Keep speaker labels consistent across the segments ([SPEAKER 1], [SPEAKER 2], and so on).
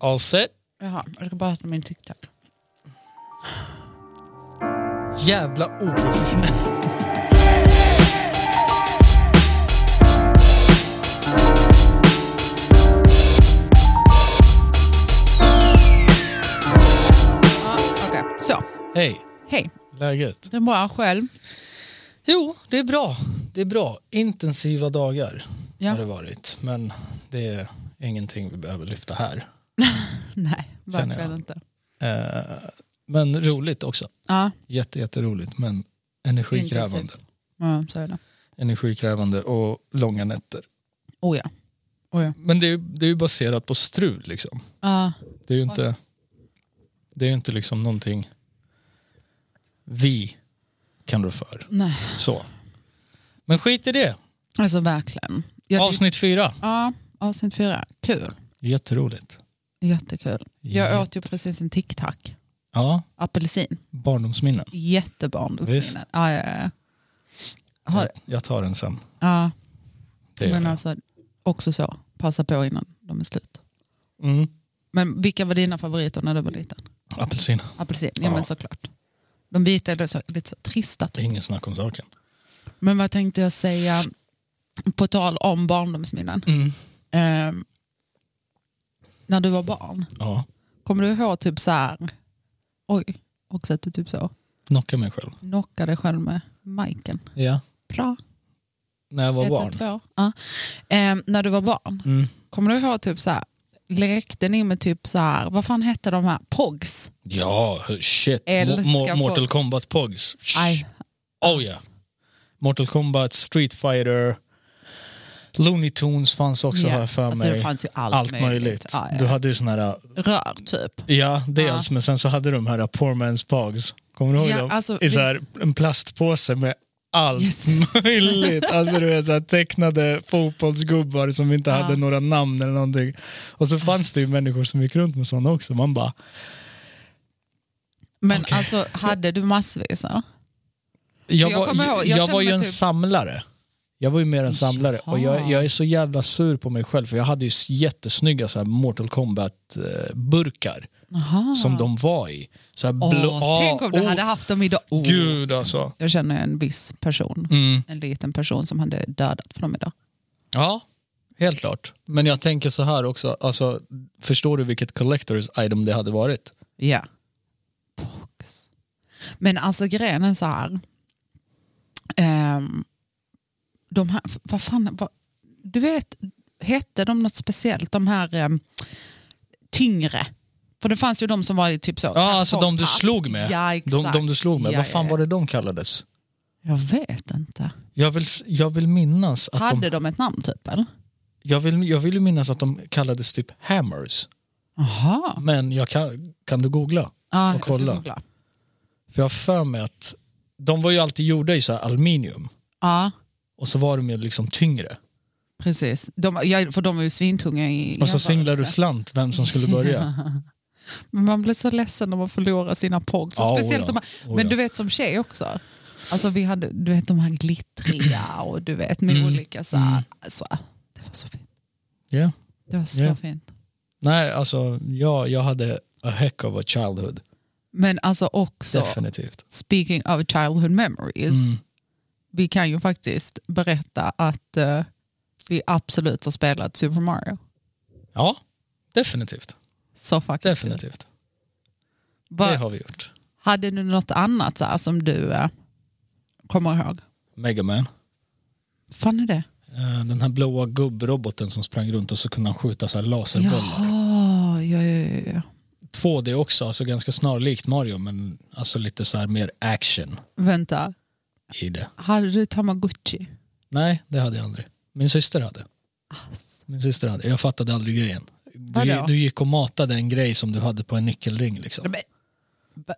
[SPEAKER 1] All set.
[SPEAKER 2] Jaha, jag ska bara äta min TikTok.
[SPEAKER 1] Jävla oprofessionellt.
[SPEAKER 2] Okej, så.
[SPEAKER 1] Hej,
[SPEAKER 2] Hej.
[SPEAKER 1] läget?
[SPEAKER 2] Det är bra själv.
[SPEAKER 1] Jo, det är bra. Det är bra. Intensiva dagar
[SPEAKER 2] Ja.
[SPEAKER 1] har det varit. Men det är ingenting vi behöver lyfta här.
[SPEAKER 2] Nej,
[SPEAKER 1] jag.
[SPEAKER 2] verkligen inte.
[SPEAKER 1] Eh, men roligt också.
[SPEAKER 2] Ja,
[SPEAKER 1] Jätte, jätteroligt men energikrävande.
[SPEAKER 2] Intensivt. ja, så är det.
[SPEAKER 1] Energikrävande och långa nätter.
[SPEAKER 2] Oh ja. Oh ja.
[SPEAKER 1] Men det är, det är ju baserat på strul liksom.
[SPEAKER 2] Ja,
[SPEAKER 1] Det är ju inte, det är ju inte liksom någonting vi kan rå för.
[SPEAKER 2] nej.
[SPEAKER 1] Så. Men skit i det.
[SPEAKER 2] Alltså verkligen. Jag,
[SPEAKER 1] Avsnitt fyra.
[SPEAKER 2] Ja, avsnitt fyra. Kul.
[SPEAKER 1] Jätteroligt.
[SPEAKER 2] Jättekul. Jag
[SPEAKER 1] Jätte-
[SPEAKER 2] åt ju precis en TikTok.
[SPEAKER 1] Ja,
[SPEAKER 2] Apelsin.
[SPEAKER 1] barndomsminnen. Visst.
[SPEAKER 2] Jättebarndomsminnen. Ja, ja, ja. Har-
[SPEAKER 1] Jag, jag tar den sen.
[SPEAKER 2] ja.
[SPEAKER 1] Det gör
[SPEAKER 2] Men
[SPEAKER 1] jag.
[SPEAKER 2] alltså, också så. Passa på innan de är slut.
[SPEAKER 1] mm.
[SPEAKER 2] Men vilka var dina favoriter när du var liten?
[SPEAKER 1] Apelsin.
[SPEAKER 2] Apelsin, ja,
[SPEAKER 1] Ja. Mm.
[SPEAKER 2] men såklart. De vita är lite så, lite så trista.
[SPEAKER 1] Det är ingen snack om saken.
[SPEAKER 2] Men vad tänkte jag säga på tal om barndomsminnen?
[SPEAKER 1] Mm.
[SPEAKER 2] Ehm, när du var barn,
[SPEAKER 1] Ja,
[SPEAKER 2] kommer du ihåg typ så här, oj, också att du typ så
[SPEAKER 1] knocka mig själv.
[SPEAKER 2] knockade själv med miken.
[SPEAKER 1] Ja.
[SPEAKER 2] Bra,
[SPEAKER 1] När jag var
[SPEAKER 2] ett,
[SPEAKER 1] barn.
[SPEAKER 2] ett, två. Ja. Ehm, när du var barn,
[SPEAKER 1] Mm.
[SPEAKER 2] kommer du ihåg typ så här, lekte ni med typ så här, vad fan hette de här, pogs?
[SPEAKER 1] Ja, shit.
[SPEAKER 2] Älskar
[SPEAKER 1] Mo- Mo-
[SPEAKER 2] Pogs.
[SPEAKER 1] Mortal Kombat Pogs.
[SPEAKER 2] Aj,
[SPEAKER 1] Oh ja.
[SPEAKER 2] Alltså,
[SPEAKER 1] Mortal Kombat, Street Fighter, Looney Tunes fanns också
[SPEAKER 2] ja.
[SPEAKER 1] här för mig.
[SPEAKER 2] Alltså, det fanns ju allt,
[SPEAKER 1] Allt möjligt.
[SPEAKER 2] Ja, ja.
[SPEAKER 1] Du hade ju sån här,
[SPEAKER 2] Rör typ.
[SPEAKER 1] ja dels, men sen så hade du de här poor man's pogs. Kommer du ihåg
[SPEAKER 2] Ja,
[SPEAKER 1] dem?
[SPEAKER 2] alltså,
[SPEAKER 1] I så
[SPEAKER 2] vi-
[SPEAKER 1] här, en plastpåse med allt
[SPEAKER 2] Just
[SPEAKER 1] möjligt. Alltså du vet, så här, tecknade fotbollsgubbar som inte hade några namn eller någonting. Och så fanns det ju människor som gick runt med sådana också. Man bara,
[SPEAKER 2] Men
[SPEAKER 1] Okej.
[SPEAKER 2] alltså hade du massvis? eller?
[SPEAKER 1] Jag,
[SPEAKER 2] Jag
[SPEAKER 1] var,
[SPEAKER 2] kommer ihåg,
[SPEAKER 1] jag,
[SPEAKER 2] jag
[SPEAKER 1] var
[SPEAKER 2] kände
[SPEAKER 1] ju en
[SPEAKER 2] typ-
[SPEAKER 1] samlare. Jag var ju mer en samlare och jag,
[SPEAKER 2] Jaha.
[SPEAKER 1] jag är så jävla sur på mig själv för jag hade ju s- jättesnygga så här Mortal Kombat-burkar
[SPEAKER 2] Jaha.
[SPEAKER 1] som de var i. Så här
[SPEAKER 2] Åh,
[SPEAKER 1] blå, ah,
[SPEAKER 2] tänk om du
[SPEAKER 1] oh,
[SPEAKER 2] hade haft dem idag. Oh.
[SPEAKER 1] Gud alltså.
[SPEAKER 2] Jag känner en viss person,
[SPEAKER 1] Mm.
[SPEAKER 2] en liten person som hade dödat för dem idag.
[SPEAKER 1] Ja, helt klart. Men jag tänker så här också, alltså, förstår du vilket collectors item det hade varit?
[SPEAKER 2] Ja. Pox. Men alltså grejen är så här. Ehm, de här, vad fan, vad, du vet, hette de något speciellt? De här ehm, tyngre. För det fanns ju de som var i typ så.
[SPEAKER 1] Ja, alltså de du
[SPEAKER 2] kartongpapp.
[SPEAKER 1] slog med.
[SPEAKER 2] Ja,
[SPEAKER 1] De,
[SPEAKER 2] exakt.
[SPEAKER 1] de du slog med,
[SPEAKER 2] Ja,
[SPEAKER 1] vad fan
[SPEAKER 2] ja,
[SPEAKER 1] var det de kallades?
[SPEAKER 2] ja. Jag vet inte.
[SPEAKER 1] Jag vill, s- jag vill minnas att de,
[SPEAKER 2] Hade de ett namn typ eller?
[SPEAKER 1] jag vill, jag vill ju minnas att de kallades typ hammers.
[SPEAKER 2] Jaha.
[SPEAKER 1] Men jag kan, kan du googla?
[SPEAKER 2] Ja,
[SPEAKER 1] Och
[SPEAKER 2] jag ska
[SPEAKER 1] kolla.
[SPEAKER 2] googla.
[SPEAKER 1] För jag har för mig att de var ju alltid gjorda i så här aluminium
[SPEAKER 2] Ja,
[SPEAKER 1] och så var de ju liksom tyngre.
[SPEAKER 2] precis. De, ja, för de är ju svintunga i
[SPEAKER 1] Och så
[SPEAKER 2] jämförelse.
[SPEAKER 1] singlar du slant vem som skulle börja.
[SPEAKER 2] Men man blir så ledsen när man förlorar sina pogs.
[SPEAKER 1] Ja,
[SPEAKER 2] Så speciellt
[SPEAKER 1] oja,
[SPEAKER 2] de här,
[SPEAKER 1] oja.
[SPEAKER 2] Men du vet som tjej också. Alltså vi hade, du vet de här glittriga och du vet med
[SPEAKER 1] Mm.
[SPEAKER 2] olika så här. Alltså, det var så fint.
[SPEAKER 1] Ja.
[SPEAKER 2] Det var så
[SPEAKER 1] Ja.
[SPEAKER 2] fint.
[SPEAKER 1] Nej, alltså jag, jag hade a heck of a childhood.
[SPEAKER 2] Men alltså också,
[SPEAKER 1] Definitivt. Mm.
[SPEAKER 2] speaking of childhood memories. Vi kan ju faktiskt berätta att eh, vi absolut har spelat Super Mario.
[SPEAKER 1] Ja, definitivt.
[SPEAKER 2] Så faktiskt.
[SPEAKER 1] Definitivt. Det
[SPEAKER 2] Vad-
[SPEAKER 1] har vi gjort.
[SPEAKER 2] Hade du något annat så här, som du eh, kommer ihåg?
[SPEAKER 1] Mega Man.
[SPEAKER 2] fan är det?
[SPEAKER 1] Eh, Den här blåa gubbroboten som sprang runt och så kunde han skjuta så här laserbollar.
[SPEAKER 2] Jaha, ja, ja, ja, ja.
[SPEAKER 1] 2D också, alltså ganska snarlikt Mario men alltså lite så här mer action
[SPEAKER 2] Vänta,
[SPEAKER 1] i det.
[SPEAKER 2] hade du Tamagotchi?
[SPEAKER 1] Nej, det hade jag aldrig. Min syster hade. Min syster hade. Jag fattade aldrig grejen. Du,
[SPEAKER 2] Vadå?
[SPEAKER 1] du gick och matade en grej som du hade på en nyckelring. Liksom.
[SPEAKER 2] Men, va-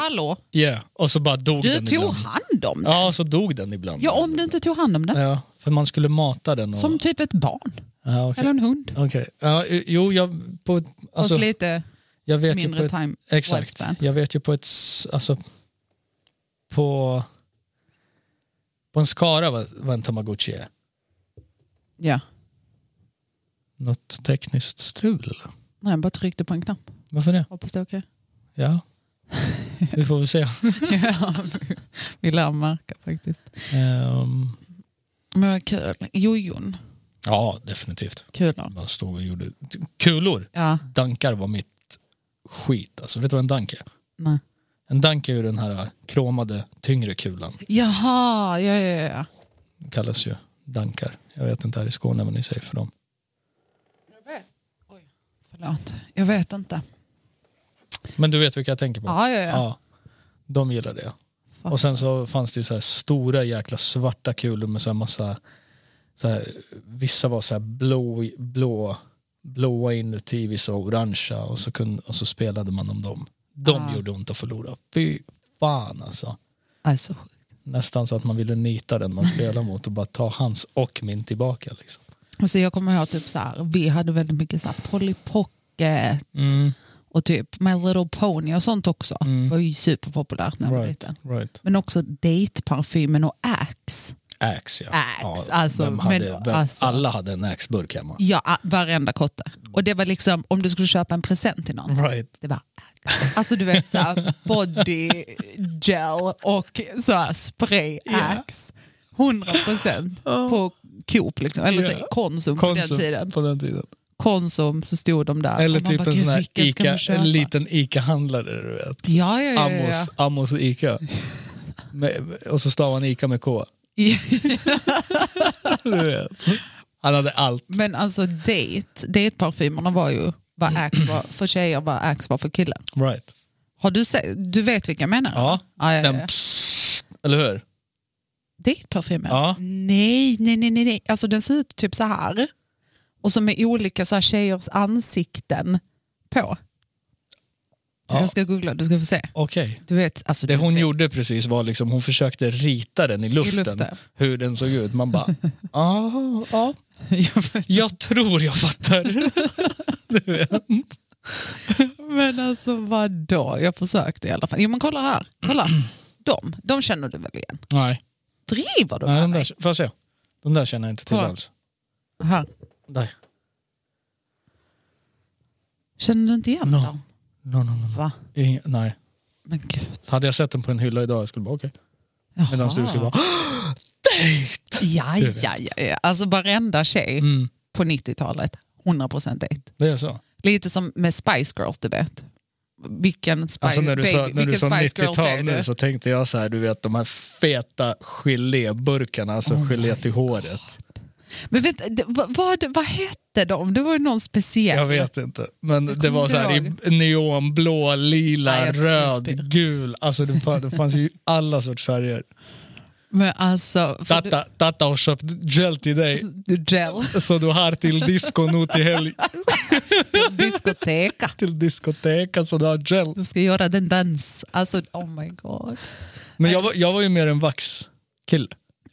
[SPEAKER 2] Hallå,
[SPEAKER 1] Yeah. Och så bara dog
[SPEAKER 2] du
[SPEAKER 1] den
[SPEAKER 2] tog
[SPEAKER 1] ibland.
[SPEAKER 2] hand om den?
[SPEAKER 1] Ja, så dog den ibland.
[SPEAKER 2] Ja, om du inte tog hand om den.
[SPEAKER 1] Ja, för man skulle mata den. Och...
[SPEAKER 2] Som typ ett barn
[SPEAKER 1] Ja, okej.
[SPEAKER 2] eller en hund.
[SPEAKER 1] Okej. Ja, jo, jag, på, alltså,
[SPEAKER 2] Fast lite
[SPEAKER 1] jag vet ju på
[SPEAKER 2] mindre
[SPEAKER 1] ett,
[SPEAKER 2] time
[SPEAKER 1] Exakt.
[SPEAKER 2] lifespan.
[SPEAKER 1] Jag vet ju på ett... s- Alltså, på, på en skara vad, vad en tamagotchi är.
[SPEAKER 2] Ja.
[SPEAKER 1] Något tekniskt strul eller?
[SPEAKER 2] Nej, jag bara tryckte på en knapp.
[SPEAKER 1] Varför det?
[SPEAKER 2] Hoppas det är okej.
[SPEAKER 1] Ja, vi får väl se.
[SPEAKER 2] Ja, vi lär märka faktiskt.
[SPEAKER 1] Ehm,
[SPEAKER 2] Men vad kul. Jojon.
[SPEAKER 1] ja, definitivt.
[SPEAKER 2] Kulor.
[SPEAKER 1] Man stod och gjorde kulor.
[SPEAKER 2] Ja.
[SPEAKER 1] Dankar var mitt skit. Alltså, vet du vad en dank är?
[SPEAKER 2] Nej.
[SPEAKER 1] En dank är ju den här kromade, tyngre kulan.
[SPEAKER 2] Jaha, ja, ja, ja.
[SPEAKER 1] De kallas ju dankar. Jag vet inte här i Skåne vad ni säger för dem.
[SPEAKER 2] Förlåt, jag vet inte.
[SPEAKER 1] Men du vet vilka jag tänker på?
[SPEAKER 2] Ja, ja, ja.
[SPEAKER 1] Ja, de gillar det.
[SPEAKER 2] Fan.
[SPEAKER 1] Och sen så fanns det ju så här stora jäkla svarta kulor med så här massa, så här, vissa var så här blå, blå, blåa inuti, vissa var orangea och så, kunde, och så spelade man om dem. De
[SPEAKER 2] Ah.
[SPEAKER 1] gjorde ont att förlora. Fy fan alltså.
[SPEAKER 2] Alltså,
[SPEAKER 1] Nästan så att man ville nita den man spelade mot och bara ta hans och min tillbaka. Liksom.
[SPEAKER 2] alltså jag kommer ihåg typ så här, vi hade väldigt mycket så här Polly Pocket
[SPEAKER 1] Mm,
[SPEAKER 2] och typ My Little Pony och sånt också.
[SPEAKER 1] Mm.
[SPEAKER 2] var ju superpopulärt när jag var
[SPEAKER 1] right,
[SPEAKER 2] liten.
[SPEAKER 1] right.
[SPEAKER 2] Men också Date-parfymen och Axe.
[SPEAKER 1] Axe ja.
[SPEAKER 2] Axe, alltså,
[SPEAKER 1] vem hade,
[SPEAKER 2] men,
[SPEAKER 1] vem,
[SPEAKER 2] alltså.
[SPEAKER 1] Alla hade en Axe-burk hemma.
[SPEAKER 2] Ja, a- varenda kotte. Och det var liksom, om du skulle köpa en present till någon,
[SPEAKER 1] Right.
[SPEAKER 2] det var Axe. Alltså du vet så här, body gel och så här, spray
[SPEAKER 1] Ja.
[SPEAKER 2] Axe. 100 procent på Coop, liksom. eller så,
[SPEAKER 1] Ja.
[SPEAKER 2] här, Konsum, på den tiden.
[SPEAKER 1] På den tiden.
[SPEAKER 2] Konsum så stod de där.
[SPEAKER 1] Eller
[SPEAKER 2] Och man
[SPEAKER 1] typ
[SPEAKER 2] bara,
[SPEAKER 1] en
[SPEAKER 2] "Gud,
[SPEAKER 1] sån här
[SPEAKER 2] vilken ska man
[SPEAKER 1] Ica,
[SPEAKER 2] köpa?"
[SPEAKER 1] en liten ICA-handlare du vet.
[SPEAKER 2] Ja, ja, ja. ja, ja.
[SPEAKER 1] Amos, Amos och Ica. Med, och så stavar han Ica med K. Du vet. Han hade allt.
[SPEAKER 2] Men alltså date, date-parfymerna var ju vad Axe var för tjejer vad Axe var för killar.
[SPEAKER 1] Right.
[SPEAKER 2] Har du, se, du vet vilka jag menar?
[SPEAKER 1] Ja,
[SPEAKER 2] ja, ja,
[SPEAKER 1] Den,
[SPEAKER 2] ja.
[SPEAKER 1] eller hur?
[SPEAKER 2] Date-parfymen?
[SPEAKER 1] Ja.
[SPEAKER 2] Nej, nej, nej, nej, nej. Alltså den ser ut typ så här. Och så med olika så här tjejers ansikten på.
[SPEAKER 1] Ja.
[SPEAKER 2] Jag ska googla, du ska få se.
[SPEAKER 1] Okej.
[SPEAKER 2] Du vet, alltså,
[SPEAKER 1] Det
[SPEAKER 2] du
[SPEAKER 1] hon
[SPEAKER 2] vet,
[SPEAKER 1] gjorde precis var liksom, hon försökte rita den i luften.
[SPEAKER 2] luften.
[SPEAKER 1] Hur den såg ut. Man bara, ah, ja, jag tror jag fattar. Du vet.
[SPEAKER 2] Men alltså vadå? Jag försökte i alla fall. Jo men kolla här. Kolla. De, de känner du väl igen?
[SPEAKER 1] Nej,
[SPEAKER 2] Driver du
[SPEAKER 1] nej
[SPEAKER 2] med
[SPEAKER 1] de
[SPEAKER 2] mig?
[SPEAKER 1] där, får jag se? De där känner jag inte till
[SPEAKER 2] Kolla.
[SPEAKER 1] alls.
[SPEAKER 2] Här.
[SPEAKER 1] Där.
[SPEAKER 2] Känner du inte igen
[SPEAKER 1] No.
[SPEAKER 2] dem?
[SPEAKER 1] No, no, no,
[SPEAKER 2] Va?
[SPEAKER 1] no. Ingen, nej.
[SPEAKER 2] Men gud.
[SPEAKER 1] Hade jag sett den på en hylla idag, jag skulle bara okej.
[SPEAKER 2] Jaha.
[SPEAKER 1] Medan du skulle bara, dejt!
[SPEAKER 2] Ja,
[SPEAKER 1] Du vet.
[SPEAKER 2] ja, ja, ja. Alltså varenda tjej
[SPEAKER 1] Mm,
[SPEAKER 2] på 90-talet, 100% dejt.
[SPEAKER 1] det är så.
[SPEAKER 2] Lite som med Spice Girls, du vet. Vilken Spice,
[SPEAKER 1] Alltså när du sa,
[SPEAKER 2] baby,
[SPEAKER 1] när du
[SPEAKER 2] vilken
[SPEAKER 1] sa
[SPEAKER 2] Spice Girls är
[SPEAKER 1] 90-tal nu
[SPEAKER 2] du?
[SPEAKER 1] så tänkte jag så här, du vet de här feta geléburkarna, alltså
[SPEAKER 2] Oh
[SPEAKER 1] gelé till håret.
[SPEAKER 2] Men vet, det- vad, vad, vad hette de? Det var ju någon speciell.
[SPEAKER 1] Jag vet inte, men det
[SPEAKER 2] kommer
[SPEAKER 1] var
[SPEAKER 2] inte
[SPEAKER 1] så här i neonblå, lila,
[SPEAKER 2] Nej, jag skulle spy.
[SPEAKER 1] röd, gul. Alltså det fanns, det fanns ju alla sorts färger.
[SPEAKER 2] Men alltså... för
[SPEAKER 1] Tata, tata har köpt gel till dig,
[SPEAKER 2] du- Gel.
[SPEAKER 1] så du har till disco nu till helg.
[SPEAKER 2] Diskoteka.
[SPEAKER 1] Till diskoteka, så du har gel.
[SPEAKER 2] Du ska göra den dans. Alltså, oh my god.
[SPEAKER 1] Men jag var, jag var ju mer en vaxkille.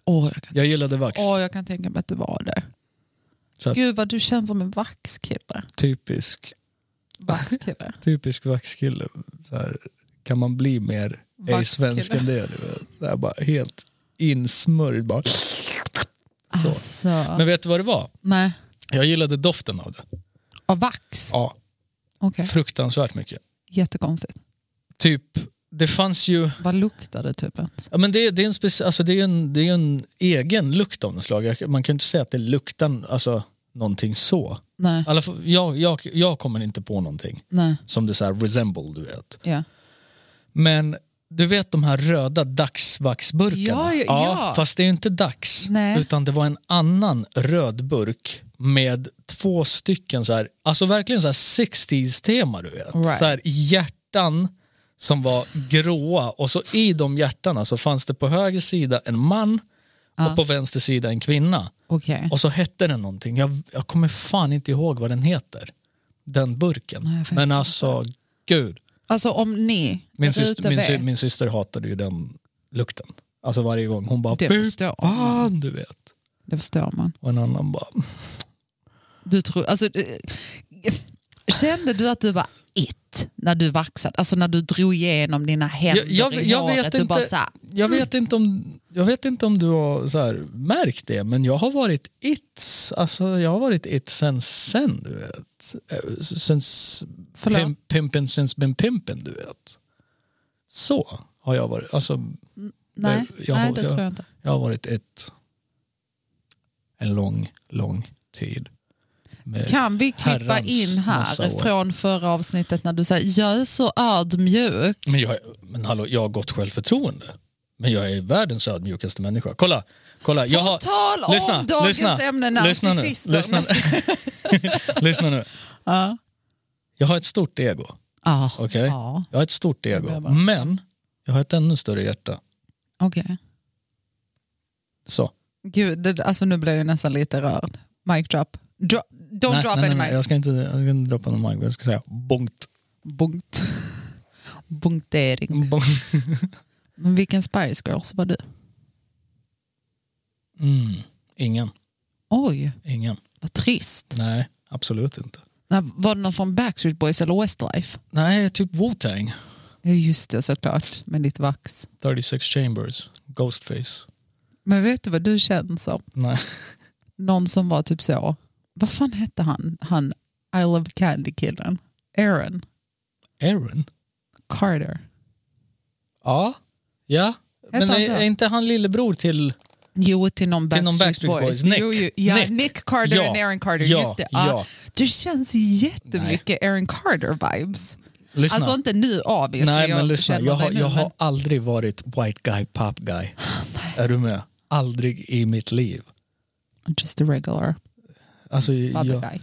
[SPEAKER 2] Åh, jag kan,
[SPEAKER 1] Jag gillade vax.
[SPEAKER 2] åh, jag kan tänka mig att du var det.
[SPEAKER 1] Så att-
[SPEAKER 2] Gud vad du känns som en vaxkille.
[SPEAKER 1] Typisk
[SPEAKER 2] Vaxkille.
[SPEAKER 1] typisk vaxkille. Så här, kan man bli mer ej
[SPEAKER 2] Vaxkille.
[SPEAKER 1] svensk än det? du vet? Så här, bara helt insmörjd. Bara. Så.
[SPEAKER 2] Alltså,
[SPEAKER 1] Men vet du vad det var?
[SPEAKER 2] nej.
[SPEAKER 1] Jag gillade doften av det.
[SPEAKER 2] Av vax?
[SPEAKER 1] Ja,
[SPEAKER 2] Okej,
[SPEAKER 1] fruktansvärt mycket.
[SPEAKER 2] jättekonstigt.
[SPEAKER 1] Typ, det fanns ju...
[SPEAKER 2] Vad luktar det typ ens?
[SPEAKER 1] Ja, men det, det, är en speci- alltså, det, är en, det är en egen lukt av något slag. Jag- Man kan ju inte säga att det luktar alltså, någonting så.
[SPEAKER 2] Nej,
[SPEAKER 1] I alla fall, jag, jag, jag kommer inte på någonting
[SPEAKER 2] nej,
[SPEAKER 1] som det så här resemble, du vet.
[SPEAKER 2] ja.
[SPEAKER 1] Men du vet de här röda dagsvaxburkarna?
[SPEAKER 2] Ja, ja, ja.
[SPEAKER 1] Fast det är ju inte dags,
[SPEAKER 2] Nej.
[SPEAKER 1] utan det var en annan röd burk med två stycken så här, alltså verkligen så här 60s-tema du vet.
[SPEAKER 2] Right.
[SPEAKER 1] Så här hjärtan som var gråa och så i de hjärtarna så fanns det på höger sida en man och på vänster sida en kvinna.
[SPEAKER 2] Okej.
[SPEAKER 1] Och så hette den någonting, jag, jag kommer fan inte ihåg vad den heter, den burken.
[SPEAKER 2] Nej, jag vet
[SPEAKER 1] Men
[SPEAKER 2] inte.
[SPEAKER 1] alltså, gud.
[SPEAKER 2] Alltså om ni
[SPEAKER 1] Min,
[SPEAKER 2] där
[SPEAKER 1] syster,
[SPEAKER 2] ute
[SPEAKER 1] min, sy,
[SPEAKER 2] vet.
[SPEAKER 1] min syster hatade ju den lukten. Alltså varje gång. Hon bara,
[SPEAKER 2] Det
[SPEAKER 1] "Fy
[SPEAKER 2] förstår
[SPEAKER 1] fan, du vet.
[SPEAKER 2] Det förstår man.
[SPEAKER 1] Och en annan bara,
[SPEAKER 2] Du tror, alltså, eh, kände du att du var it? ut när du vaxade? Alltså när du drog igenom dina händer
[SPEAKER 1] Jag- jag-
[SPEAKER 2] i
[SPEAKER 1] jag
[SPEAKER 2] håret?
[SPEAKER 1] vet
[SPEAKER 2] du
[SPEAKER 1] inte.
[SPEAKER 2] bara så här,
[SPEAKER 1] Jag vet inte om, jag vet inte om du har så här, märkt det, men jag har varit it. Alltså, jag har varit it sen sen, du vet. Eh, Sen s-
[SPEAKER 2] Förlåt?
[SPEAKER 1] pimp, pimpen since been pimpen, du vet. Så har jag varit. Alltså,
[SPEAKER 2] nej,
[SPEAKER 1] Jag- jag-
[SPEAKER 2] nej, det
[SPEAKER 1] jag-
[SPEAKER 2] tror jag inte.
[SPEAKER 1] jag har varit it en lång, lång tid. Med-
[SPEAKER 2] Kan vi klippa
[SPEAKER 1] eh, herrans
[SPEAKER 2] in
[SPEAKER 1] massa
[SPEAKER 2] här
[SPEAKER 1] år.
[SPEAKER 2] från förra avsnittet när du säger jag är så ödmjuk.
[SPEAKER 1] Men, jag, men hallå, jag har gott självförtroende. Men jag är världens ödmjukaste människa. Kolla, kolla. Jag har,
[SPEAKER 2] Tal om
[SPEAKER 1] lyssna,
[SPEAKER 2] dagens
[SPEAKER 1] lyssna,
[SPEAKER 2] ämne
[SPEAKER 1] lyssna nu,
[SPEAKER 2] narcissister.
[SPEAKER 1] lyssna lyssna nu.
[SPEAKER 2] Ja.
[SPEAKER 1] Jag har ett stort ego.
[SPEAKER 2] Ja.
[SPEAKER 1] Okej.
[SPEAKER 2] Ja.
[SPEAKER 1] Jag har ett stort
[SPEAKER 2] Jag
[SPEAKER 1] ego.
[SPEAKER 2] behöver alltså.
[SPEAKER 1] Men jag har ett ännu större hjärta.
[SPEAKER 2] Okej.
[SPEAKER 1] Så.
[SPEAKER 2] Gud, det, alltså nu blir jag nästan lite rörd. Mic drop. Dro- don't
[SPEAKER 1] Nej, nej,
[SPEAKER 2] drop any
[SPEAKER 1] nej, nej, Jag
[SPEAKER 2] mics.
[SPEAKER 1] ska inte, jag ska inte droppa någon mic. Jag ska säga bongt.
[SPEAKER 2] Bunkt. Bunktering.
[SPEAKER 1] bongt.
[SPEAKER 2] Men vilken Spice Girls var du?
[SPEAKER 1] Mm. Ingen.
[SPEAKER 2] Oj,
[SPEAKER 1] Ingen.
[SPEAKER 2] vad trist.
[SPEAKER 1] Nej, absolut inte.
[SPEAKER 2] Nej, Var det någon från Backstreet Boys eller Westlife?
[SPEAKER 1] Nej, typ Wu-Tang.
[SPEAKER 2] Ja, just det såklart, med ditt vax.
[SPEAKER 1] 36 Chambers. Ghostface.
[SPEAKER 2] Men vet du vad du känns som?
[SPEAKER 1] Nej.
[SPEAKER 2] Någon som var typ så, vad fan hette han, han I Love Candy-killen? Aaron
[SPEAKER 1] Aaron?
[SPEAKER 2] Carter.
[SPEAKER 1] Ja. Ja. Men
[SPEAKER 2] han
[SPEAKER 1] är,
[SPEAKER 2] så?
[SPEAKER 1] är inte han lillebror till...
[SPEAKER 2] Jo, till någon
[SPEAKER 1] Till
[SPEAKER 2] Backstreet,
[SPEAKER 1] någon Backstreet Boys. Nick.
[SPEAKER 2] Jo, jo, ja, Nick.
[SPEAKER 1] Nick.
[SPEAKER 2] Carter
[SPEAKER 1] Ja,
[SPEAKER 2] och Aaron Carter.
[SPEAKER 1] ja,
[SPEAKER 2] Just det. Ja.
[SPEAKER 1] ja.
[SPEAKER 2] Du känns jättemycket Aaron Carter-vibes.
[SPEAKER 1] Lyssna.
[SPEAKER 2] Alltså inte nu obviously.
[SPEAKER 1] Nej, men
[SPEAKER 2] jag
[SPEAKER 1] lyssna.
[SPEAKER 2] känner
[SPEAKER 1] Jag har,
[SPEAKER 2] dig nu,
[SPEAKER 1] jag
[SPEAKER 2] men-
[SPEAKER 1] har aldrig varit white guy, pop guy. Är du med? Aldrig i mitt liv.
[SPEAKER 2] Just a regular
[SPEAKER 1] Alltså,
[SPEAKER 2] Mm, bubble
[SPEAKER 1] jag,
[SPEAKER 2] guy.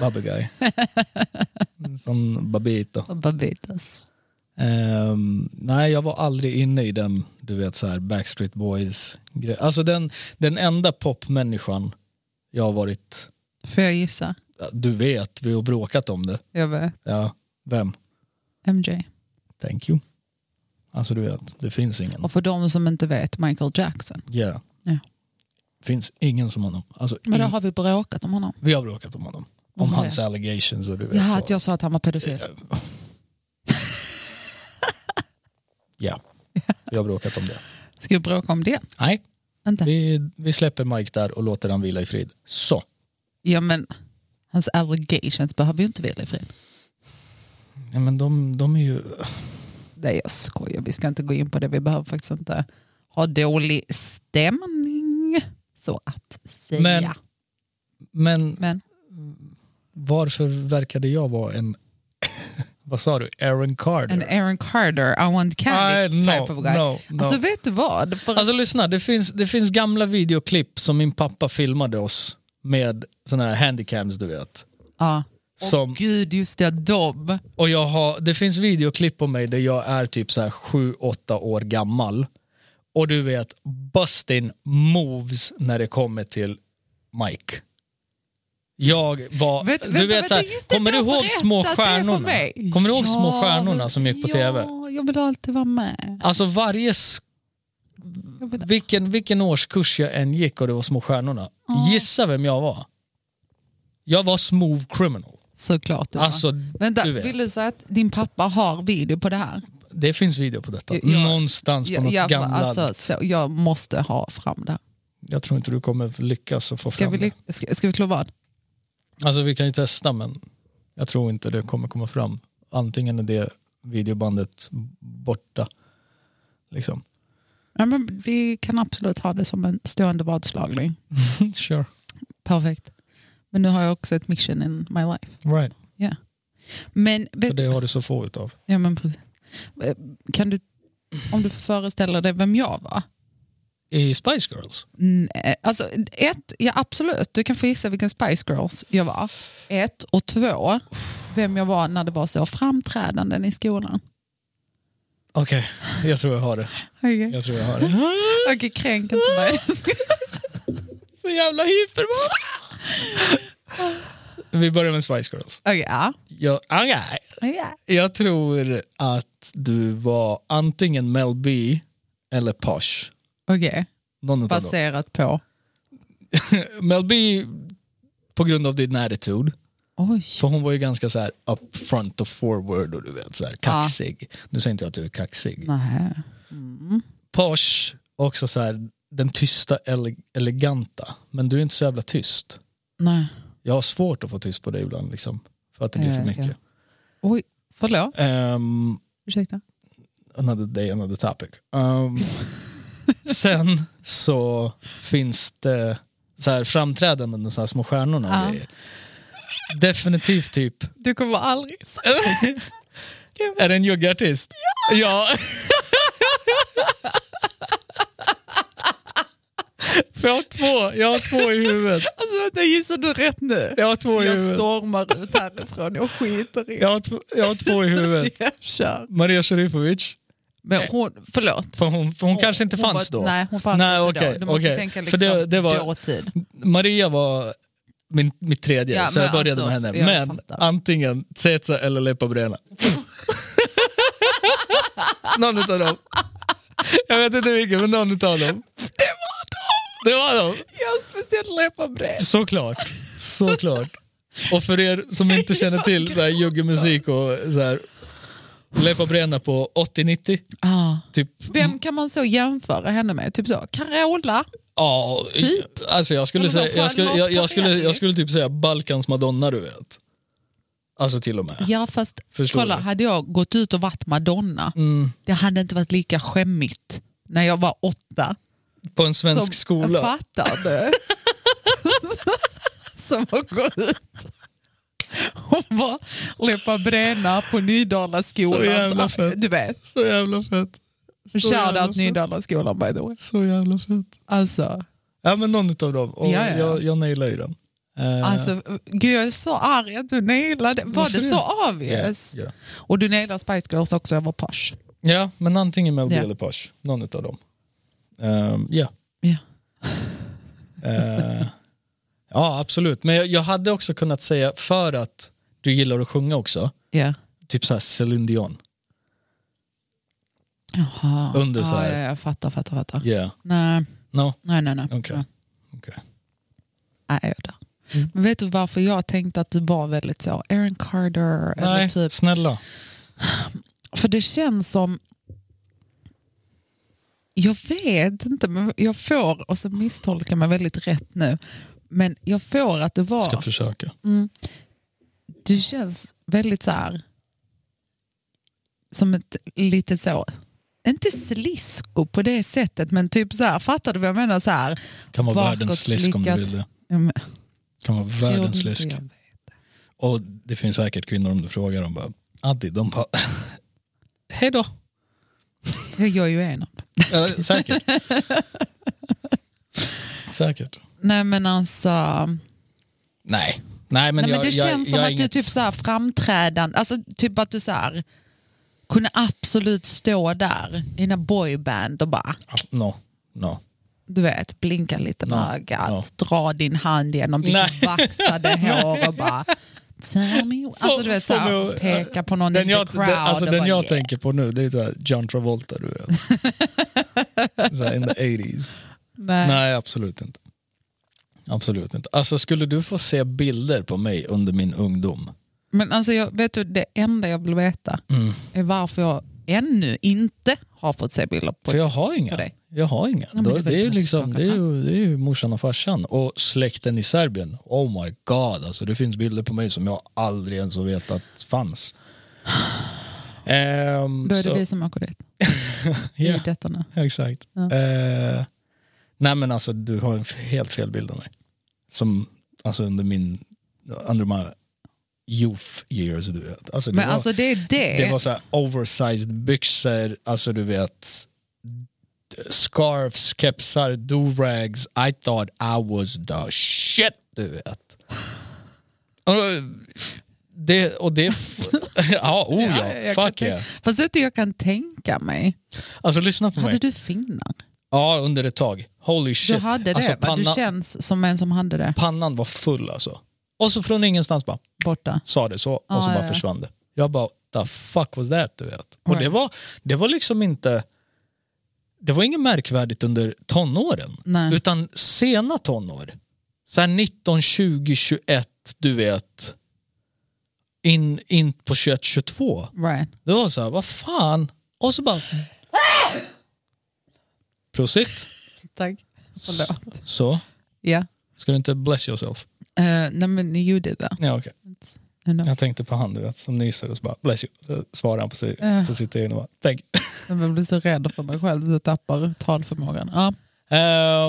[SPEAKER 1] Bubble guy. Som Babito.
[SPEAKER 2] Babitas.
[SPEAKER 1] Ehm, nej, jag var aldrig inne i den, du vet så här Backstreet Boys. gre- Alltså den, den enda popmänniskan jag har varit,
[SPEAKER 2] Får jag gissa?
[SPEAKER 1] du vet, vi har bråkat om det.
[SPEAKER 2] Jag vet.
[SPEAKER 1] Ja, vem?
[SPEAKER 2] MJ.
[SPEAKER 1] Thank you. Alltså du vet, det finns ingen.
[SPEAKER 2] Och för de som inte vet, Michael Jackson.
[SPEAKER 1] Yeah.
[SPEAKER 2] Ja.
[SPEAKER 1] Finns ingen som honom. Alltså,
[SPEAKER 2] Men då
[SPEAKER 1] ing-
[SPEAKER 2] har vi bråkat om honom.
[SPEAKER 1] Vi har bråkat om honom. Om
[SPEAKER 2] Om det?
[SPEAKER 1] hans allegations och du vet
[SPEAKER 2] Ja,
[SPEAKER 1] så. Eh,
[SPEAKER 2] att jag sa att han var pedofil.
[SPEAKER 1] Ja, vi har bråkat om det.
[SPEAKER 2] Ska vi bråka om det?
[SPEAKER 1] Nej,
[SPEAKER 2] Inte?
[SPEAKER 1] vi, vi släpper Mike där och låter han vila i frid. Så.
[SPEAKER 2] Ja, men hans allegations behöver ju inte vila i fred.
[SPEAKER 1] Ja, men de, de är ju...
[SPEAKER 2] Nej, jag skojar. Vi ska inte gå in på det. Vi behöver faktiskt inte ha dålig stämning. Så att säga.
[SPEAKER 1] Men- Men
[SPEAKER 2] Men
[SPEAKER 1] varför verkade jag vara en... vad sa du? Aaron Carter?
[SPEAKER 2] en Aaron Carter, I want
[SPEAKER 1] Nej,
[SPEAKER 2] candy type
[SPEAKER 1] no,
[SPEAKER 2] of guy.
[SPEAKER 1] no, no.
[SPEAKER 2] Alltså vet du vad? För
[SPEAKER 1] Alltså lyssna, det finns, det finns gamla videoklipp som min pappa filmade oss med såna här handycams du vet.
[SPEAKER 2] ja.
[SPEAKER 1] Som,
[SPEAKER 2] Gud, just det, de.
[SPEAKER 1] Och jag har, det finns videoklipp på mig där jag är typ så här 7-8 år gammal. Och du vet, Bustin moves när det kommer till Mike. Jag var,
[SPEAKER 2] Vet-
[SPEAKER 1] du
[SPEAKER 2] vänta,
[SPEAKER 1] vet
[SPEAKER 2] vänta,
[SPEAKER 1] så här,
[SPEAKER 2] just det,
[SPEAKER 1] kommer du
[SPEAKER 2] du har
[SPEAKER 1] ihåg små
[SPEAKER 2] berättat det för
[SPEAKER 1] stjärnorna?
[SPEAKER 2] mig.
[SPEAKER 1] Kommer du ihåg små
[SPEAKER 2] Ja,
[SPEAKER 1] stjärnorna som gick på
[SPEAKER 2] ja,
[SPEAKER 1] tv?
[SPEAKER 2] jag vill alltid vara med.
[SPEAKER 1] Alltså varje, sk-
[SPEAKER 2] Jag vill...
[SPEAKER 1] vilken, vilken årskurs jag än gick och det var små stjärnorna. Gissa vem jag var? Jag var smooth criminal.
[SPEAKER 2] Såklart du var.
[SPEAKER 1] Alltså,
[SPEAKER 2] Vänta,
[SPEAKER 1] du vet.
[SPEAKER 2] vill du säga att din pappa har video på det här?
[SPEAKER 1] Det finns video på detta.
[SPEAKER 2] Jag-
[SPEAKER 1] Någonstans på något
[SPEAKER 2] jag,
[SPEAKER 1] gamla... liksom.
[SPEAKER 2] alltså, så, jag måste ha fram det.
[SPEAKER 1] Jag tror inte du kommer lyckas att få
[SPEAKER 2] Ska
[SPEAKER 1] fram
[SPEAKER 2] vi,
[SPEAKER 1] det.
[SPEAKER 2] ly- ska, ska vi slå vad?
[SPEAKER 1] Alltså vi kan ju testa men jag tror inte det kommer komma fram. Antingen är det videobandet borta. Liksom.
[SPEAKER 2] Ja, men vi kan absolut ha det som en stående vadslagning.
[SPEAKER 1] Sure.
[SPEAKER 2] Perfekt. Men nu har jag också ett mission in my life.
[SPEAKER 1] Right.
[SPEAKER 2] Men,
[SPEAKER 1] Så
[SPEAKER 2] vet,
[SPEAKER 1] det har du så få utav.
[SPEAKER 2] ja, men precis. Eh, Kan du, om du får föreställa dig vem jag var?
[SPEAKER 1] I Spice Girls?
[SPEAKER 2] Nej, alltså ett, ja absolut, du kan få gissa vilken Spice Girls jag var. Ett och två, vem jag var när det var så framträdanden i skolan.
[SPEAKER 1] Okej, jag tror jag har det.
[SPEAKER 2] Okej,
[SPEAKER 1] Jag tror jag har det.
[SPEAKER 2] okay, kränk inte mig.
[SPEAKER 1] Så jävla hyperman! Vi börjar med Spice Girls.
[SPEAKER 2] Okej, ja.
[SPEAKER 1] Jag, okay.
[SPEAKER 2] Ja.
[SPEAKER 1] jag tror att du var antingen Mel B eller Posh.
[SPEAKER 2] Okej,
[SPEAKER 1] Någon utav dem.
[SPEAKER 2] baserat på.
[SPEAKER 1] Mel B på grund av din attitude.
[SPEAKER 2] Oj.
[SPEAKER 1] För hon var ju ganska så här up front och forward och du vet så här kaxig. Nu säger inte jag att du är kaxig.
[SPEAKER 2] Nej.
[SPEAKER 1] Posh, också så här den tysta ele- eleganta. Men du är inte så jävla tyst.
[SPEAKER 2] Nej.
[SPEAKER 1] Jag har svårt att få tyst på dig ibland liksom. För att det blir för
[SPEAKER 2] Eh, ja.
[SPEAKER 1] mycket.
[SPEAKER 2] Oj, förlåt.
[SPEAKER 1] Ehm,
[SPEAKER 2] Ursäkta.
[SPEAKER 1] another day, another topic. Ehm, sen så finns det så här framträdanden och så här små stjärnorna och
[SPEAKER 2] Ja.
[SPEAKER 1] grejer. Definitivt typ
[SPEAKER 2] Du kommer aldrig säga
[SPEAKER 1] Är det en juggartist? Ja! För jag har två, jag har två i huvudet.
[SPEAKER 2] Alltså vänta, gissar du rätt nu?
[SPEAKER 1] Jag har två i
[SPEAKER 2] Jag
[SPEAKER 1] huvudet.
[SPEAKER 2] stormar ut härifrån, jag skiter i
[SPEAKER 1] Jag har, tv- jag har två i huvudet.
[SPEAKER 2] Jag kör.
[SPEAKER 1] Maria Sharifovic,
[SPEAKER 2] Men hon, förlåt.
[SPEAKER 1] för hon, för hon kanske inte
[SPEAKER 2] Hon
[SPEAKER 1] fanns
[SPEAKER 2] var-
[SPEAKER 1] då.
[SPEAKER 2] Nej, hon fanns
[SPEAKER 1] Nej,
[SPEAKER 2] inte
[SPEAKER 1] okej,
[SPEAKER 2] då. Du måste
[SPEAKER 1] okej.
[SPEAKER 2] tänka
[SPEAKER 1] För
[SPEAKER 2] liksom
[SPEAKER 1] det- det var-
[SPEAKER 2] dåtid.
[SPEAKER 1] Maria var min, mitt tredje,
[SPEAKER 2] Ja,
[SPEAKER 1] så jag
[SPEAKER 2] men
[SPEAKER 1] började
[SPEAKER 2] alltså,
[SPEAKER 1] med henne.
[SPEAKER 2] jag
[SPEAKER 1] Men
[SPEAKER 2] fattar.
[SPEAKER 1] antingen Zetsa eller Lepa Brena. någon utav dem. Jag vet inte vilken, men någon utav dem. Det var dem! Det var dem.
[SPEAKER 2] Jag speciellt läpparbrev.
[SPEAKER 1] Såklart. Såklart. Och för er som inte känner till så här juggemusik och så här Lepa Brena på 80-90,
[SPEAKER 2] Ah.
[SPEAKER 1] typ.
[SPEAKER 2] Vem kan man så jämföra henne med? Typ så, Carola?
[SPEAKER 1] Ja,
[SPEAKER 2] Typ.
[SPEAKER 1] alltså jag skulle
[SPEAKER 2] Men vadå,
[SPEAKER 1] säga, jag skulle, jag, jag
[SPEAKER 2] Charlotte
[SPEAKER 1] skulle,
[SPEAKER 2] Perrelli?
[SPEAKER 1] jag skulle typ säga Balkans Madonna du vet. Alltså till och med.
[SPEAKER 2] Ja fast
[SPEAKER 1] Förstår Mm.
[SPEAKER 2] kolla,
[SPEAKER 1] du?
[SPEAKER 2] hade jag gått ut och varit Madonna, det hade inte varit lika skämmigt när jag var åtta.
[SPEAKER 1] På en svensk
[SPEAKER 2] som
[SPEAKER 1] skola.
[SPEAKER 2] Fattar du? som att gå ut och bara läppa bränna på
[SPEAKER 1] Så
[SPEAKER 2] Nydalaskolan.
[SPEAKER 1] jävla
[SPEAKER 2] Ah,
[SPEAKER 1] fett.
[SPEAKER 2] Du vet,
[SPEAKER 1] Så jävla fett. Så jävla
[SPEAKER 2] shoutout
[SPEAKER 1] fett.
[SPEAKER 2] Nydalaskolan by the way.
[SPEAKER 1] Så jävla fett.
[SPEAKER 2] Alltså,
[SPEAKER 1] Ja men någon utav dem. Och
[SPEAKER 2] Ja, ja, ja.
[SPEAKER 1] Jag, jag nailade ju den. Eh,
[SPEAKER 2] alltså, gud jag är så arg att du nailade. Var
[SPEAKER 1] Varför
[SPEAKER 2] det
[SPEAKER 1] det?
[SPEAKER 2] så
[SPEAKER 1] ja,
[SPEAKER 2] obvious?
[SPEAKER 1] ja.
[SPEAKER 2] Och du nailade Spice Girls också, jag var posh.
[SPEAKER 1] ja men antingen Mel
[SPEAKER 2] Ja.
[SPEAKER 1] yeah. eller Posh. Någon utav dem. Ehm, ja.
[SPEAKER 2] Ja.
[SPEAKER 1] Eh, ja absolut. Men jag, jag hade också kunnat säga för att du gillar att sjunga också.
[SPEAKER 2] Ja.
[SPEAKER 1] Typ såhär Céline Dion.
[SPEAKER 2] Jaha.
[SPEAKER 1] Under så här.
[SPEAKER 2] Ja, ja, jag fattar, fattar, fattar.
[SPEAKER 1] Yeah.
[SPEAKER 2] Nej,
[SPEAKER 1] No?
[SPEAKER 2] nej, nej. nej.
[SPEAKER 1] Okej.
[SPEAKER 2] Ja.
[SPEAKER 1] Okej.
[SPEAKER 2] Nej, jag är där.
[SPEAKER 1] Mm.
[SPEAKER 2] Men vet du varför jag tänkte att du var väldigt så, Aaron Carter eller
[SPEAKER 1] Nej,
[SPEAKER 2] typ.
[SPEAKER 1] snälla.
[SPEAKER 2] För det känns som, jag vet inte, men jag får, och så misstolkar jag mig väldigt rätt nu, men jag får att det var,
[SPEAKER 1] Ska försöka.
[SPEAKER 2] du känns väldigt så här, som ett litet så, inte slisko på det sättet, men typ så här, fattar du vad jag menar? Så här,
[SPEAKER 1] Kan vara
[SPEAKER 2] Bakåt
[SPEAKER 1] världens slisk om du
[SPEAKER 2] slickat.
[SPEAKER 1] vill det.
[SPEAKER 2] Ja, men-
[SPEAKER 1] Kan vara
[SPEAKER 2] Jo,
[SPEAKER 1] världens slisk.
[SPEAKER 2] jag vet.
[SPEAKER 1] Och det finns säkert kvinnor om du frågar dem bara, Addi, de bara, hej då.
[SPEAKER 2] Jag gör ju en av dem.
[SPEAKER 1] Ja, säkert. säkert.
[SPEAKER 2] Nej men alltså,
[SPEAKER 1] Nej. Nej, men, jag,
[SPEAKER 2] Nej, men det
[SPEAKER 1] jag,
[SPEAKER 2] känns
[SPEAKER 1] jag
[SPEAKER 2] som
[SPEAKER 1] är
[SPEAKER 2] att
[SPEAKER 1] inget...
[SPEAKER 2] du typ så här framträdande, alltså typ att du så här kunde absolut stå där i dina boyband och bara,
[SPEAKER 1] Ah, No, no.
[SPEAKER 2] du vet, blinka lite med ögat,
[SPEAKER 1] no.
[SPEAKER 2] dra din hand genom
[SPEAKER 1] Nej.
[SPEAKER 2] ditt vaxade hår och bara Tell me. Alltså du vet så
[SPEAKER 1] Får-
[SPEAKER 2] här,
[SPEAKER 1] får-
[SPEAKER 2] peka på någon
[SPEAKER 1] Den
[SPEAKER 2] in
[SPEAKER 1] jag,
[SPEAKER 2] the crowd
[SPEAKER 1] den, alltså,
[SPEAKER 2] och
[SPEAKER 1] den
[SPEAKER 2] bara,
[SPEAKER 1] jag
[SPEAKER 2] yeah.
[SPEAKER 1] tänker på nu, det är så här John Travolta, du vet. så här, in the 80s.
[SPEAKER 2] Nej.
[SPEAKER 1] Nej, absolut inte. Absolut inte. Alltså skulle du få se bilder på mig under min ungdom?
[SPEAKER 2] Men alltså jag, vet du, det enda jag vill veta
[SPEAKER 1] Mm.
[SPEAKER 2] är varför jag ännu inte har fått se bilder på
[SPEAKER 1] För jag har inga.
[SPEAKER 2] på dig.
[SPEAKER 1] Jag har inga.
[SPEAKER 2] men
[SPEAKER 1] Då-
[SPEAKER 2] det är väl
[SPEAKER 1] det, är ju
[SPEAKER 2] klart
[SPEAKER 1] liksom,
[SPEAKER 2] saker,
[SPEAKER 1] det, är ju, det är ju morsan och farsan och släkten i Serbien. Oh my god, alltså, det finns bilder på mig som jag aldrig ens har vetat fanns. Ehm,
[SPEAKER 2] Då är det
[SPEAKER 1] så-
[SPEAKER 2] vi som åker dit.
[SPEAKER 1] Ja,
[SPEAKER 2] I detta nu.
[SPEAKER 1] exakt.
[SPEAKER 2] Ja.
[SPEAKER 1] Eh, nej men alltså du har en f- helt fel bild av mig. Som, alltså under min, under de här youth years du vet. Alltså, det
[SPEAKER 2] Men
[SPEAKER 1] var-
[SPEAKER 2] alltså det är det.
[SPEAKER 1] Det var så här oversized byxor, alltså du vet scarves, kepsar, do-rags. I thought I was the shit, du vet. Och det, och det ja, oh ja,
[SPEAKER 2] jag kan
[SPEAKER 1] fuck
[SPEAKER 2] tänka-
[SPEAKER 1] yeah.
[SPEAKER 2] Fast vet du, jag kan tänka mig.
[SPEAKER 1] Alltså lyssna på
[SPEAKER 2] Hade
[SPEAKER 1] mig.
[SPEAKER 2] du finnar?
[SPEAKER 1] Ja, under ett tag. Holy
[SPEAKER 2] Du
[SPEAKER 1] shit.
[SPEAKER 2] hade det,
[SPEAKER 1] alltså,
[SPEAKER 2] va? Du
[SPEAKER 1] panna-
[SPEAKER 2] känns som en som hade det
[SPEAKER 1] pannan var full alltså. Och så från ingenstans bara,
[SPEAKER 2] borta.
[SPEAKER 1] sa det så och så
[SPEAKER 2] Ja,
[SPEAKER 1] bara
[SPEAKER 2] ja.
[SPEAKER 1] försvann det. Jag bara, the fuck was that? Du vet. Och
[SPEAKER 2] Right.
[SPEAKER 1] det var, det var liksom inte, det var inget märkvärdigt under tonåren.
[SPEAKER 2] Nej.
[SPEAKER 1] Utan sena tonår. Så här 19, 20, 21, du vet. in, in på 21-22.
[SPEAKER 2] Right.
[SPEAKER 1] Det var så här, vad fan? Och så bara... Prosit.
[SPEAKER 2] Tack. Förlåt.
[SPEAKER 1] Så.
[SPEAKER 2] Ja.
[SPEAKER 1] Ska du inte bless yourself?
[SPEAKER 2] Eh, nej men you did that.
[SPEAKER 1] Ja, okej.
[SPEAKER 2] Enough.
[SPEAKER 1] Jag tänkte på han du vet, som nyser och så bara bless you. Så svarar han på, sig,
[SPEAKER 2] Eh.
[SPEAKER 1] på sitt eget och bara thank you.
[SPEAKER 2] Jag blir så rädd för mig själv. Jag tappar talförmågan. Ja.
[SPEAKER 1] Mm.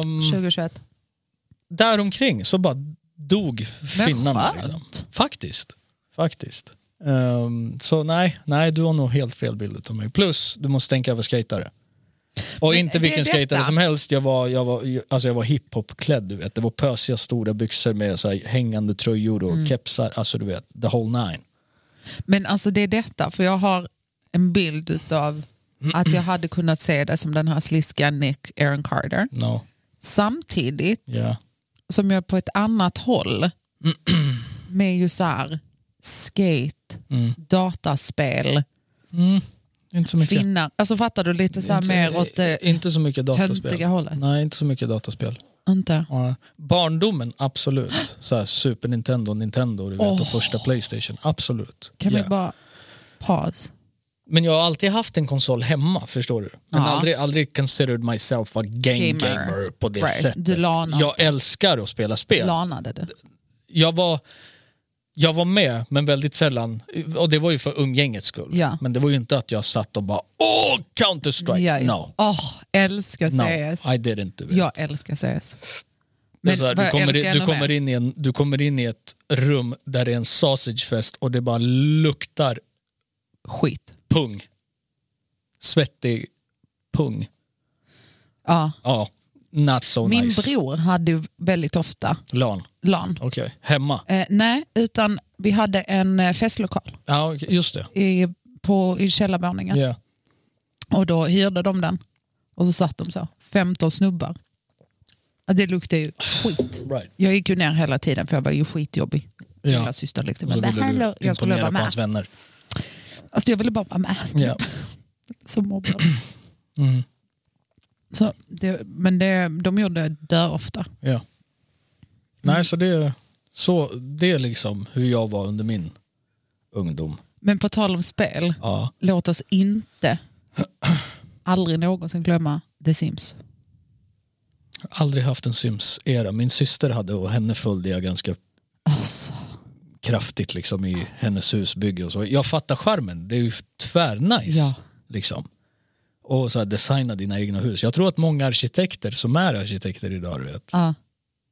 [SPEAKER 1] Ehm,
[SPEAKER 2] 2021.
[SPEAKER 1] däromkring så bara dog finnarna.
[SPEAKER 2] skönt.
[SPEAKER 1] Liksom. Faktiskt. Faktiskt. Ehm, så nej, nej, du har nog helt fel bild av mig. Plus, du måste tänka över skatare. Och
[SPEAKER 2] Men
[SPEAKER 1] inte
[SPEAKER 2] det är
[SPEAKER 1] vilken
[SPEAKER 2] detta.
[SPEAKER 1] skatare som helst. Jag var, jag var, alltså jag var hiphop-klädd, du vet. Det var pösiga stora byxor med så här, hängande tröjor och
[SPEAKER 2] Mm.
[SPEAKER 1] kepsar. Alltså du vet, the whole nine.
[SPEAKER 2] Men alltså det är detta, för jag har en bild utav att jag hade kunnat se det som den här sliska Nick Aaron Carter.
[SPEAKER 1] No.
[SPEAKER 2] Samtidigt
[SPEAKER 1] Yeah.
[SPEAKER 2] som jag på ett annat håll med ju så här skate,
[SPEAKER 1] Mm.
[SPEAKER 2] dataspel,
[SPEAKER 1] Mm. Inte så mycket.
[SPEAKER 2] finnar. Alltså fattar du lite så här
[SPEAKER 1] Inte-
[SPEAKER 2] mer åt eh, det
[SPEAKER 1] inte så mycket dataspel.
[SPEAKER 2] töntiga hållet?
[SPEAKER 1] Nej, inte så mycket dataspel.
[SPEAKER 2] Inte?
[SPEAKER 1] Ja. Barndomen, absolut. Så här, Super Nintendo, Nintendo du vet, och
[SPEAKER 2] Åh.
[SPEAKER 1] första Playstation. Absolut.
[SPEAKER 2] Kan
[SPEAKER 1] Ja.
[SPEAKER 2] vi bara paus?
[SPEAKER 1] Men jag har alltid haft en konsol hemma, förstår du. Men
[SPEAKER 2] Ja.
[SPEAKER 1] aldrig, aldrig considered myself a game
[SPEAKER 2] Gamer.
[SPEAKER 1] gamer, på det
[SPEAKER 2] Right.
[SPEAKER 1] sättet.
[SPEAKER 2] Du lanar
[SPEAKER 1] jag älskar att spela spel.
[SPEAKER 2] Lanade du?
[SPEAKER 1] jag var, jag var med, men väldigt sällan. Och det var ju för umgängets skull.
[SPEAKER 2] Ja.
[SPEAKER 1] Men det var ju inte att jag satt och bara åh, Counter-Strike!
[SPEAKER 2] Ja, ja.
[SPEAKER 1] No,
[SPEAKER 2] Åh, älskar
[SPEAKER 1] no,
[SPEAKER 2] CS.
[SPEAKER 1] I didn't do it.
[SPEAKER 2] Jag älskar CS.
[SPEAKER 1] Det är så här,
[SPEAKER 2] vad
[SPEAKER 1] du,
[SPEAKER 2] jag
[SPEAKER 1] kommer
[SPEAKER 2] älskar
[SPEAKER 1] in, du,
[SPEAKER 2] ännu
[SPEAKER 1] kommer
[SPEAKER 2] mer.
[SPEAKER 1] in i en, du kommer in i ett rum där det är en sausagefest och det bara luktar
[SPEAKER 2] Skit.
[SPEAKER 1] pung. Svettig pung.
[SPEAKER 2] Ja.
[SPEAKER 1] Ja, not so
[SPEAKER 2] Min
[SPEAKER 1] nice.
[SPEAKER 2] bror hade ju väldigt ofta
[SPEAKER 1] LAN.
[SPEAKER 2] LAN.
[SPEAKER 1] Okej, hemma.
[SPEAKER 2] Eh, nej, utan vi hade en eh, festlokal
[SPEAKER 1] Ja, okej, just det.
[SPEAKER 2] i, på, i källarvåningen.
[SPEAKER 1] Ja.
[SPEAKER 2] Och då hyrde de den. Och så satt de så, 15 snubbar. Ja, Det luktade ju skit.
[SPEAKER 1] Right.
[SPEAKER 2] Jag gick ju ner hela tiden för jag var ju skitjobbig.
[SPEAKER 1] Ja.
[SPEAKER 2] Lilla syster liksom.
[SPEAKER 1] Och så
[SPEAKER 2] Men
[SPEAKER 1] ville
[SPEAKER 2] hallå,
[SPEAKER 1] du
[SPEAKER 2] jag skulle
[SPEAKER 1] imponera
[SPEAKER 2] vara
[SPEAKER 1] på
[SPEAKER 2] med.
[SPEAKER 1] hans vänner.
[SPEAKER 2] Alltså jag ville bara vara med. Typ.
[SPEAKER 1] Ja.
[SPEAKER 2] Som mobbad.
[SPEAKER 1] Mm.
[SPEAKER 2] Så det, men det, de gjorde dö ofta.
[SPEAKER 1] Ja. Nej, så det, så det är liksom hur jag var under min ungdom.
[SPEAKER 2] Men på tal om spel,
[SPEAKER 1] Ja.
[SPEAKER 2] låt oss inte aldrig någonsin glömma The Sims.
[SPEAKER 1] Aldrig haft en Sims-era. Min syster hade och henne följde jag ganska
[SPEAKER 2] Alltså,
[SPEAKER 1] kraftigt liksom i hennes husbygge och så. Jag fattar charmen, det är ju tvärnice.
[SPEAKER 2] Ja.
[SPEAKER 1] Liksom. Och så här, designa dina egna hus. Jag tror att många arkitekter som är arkitekter idag, du vet,
[SPEAKER 2] ja.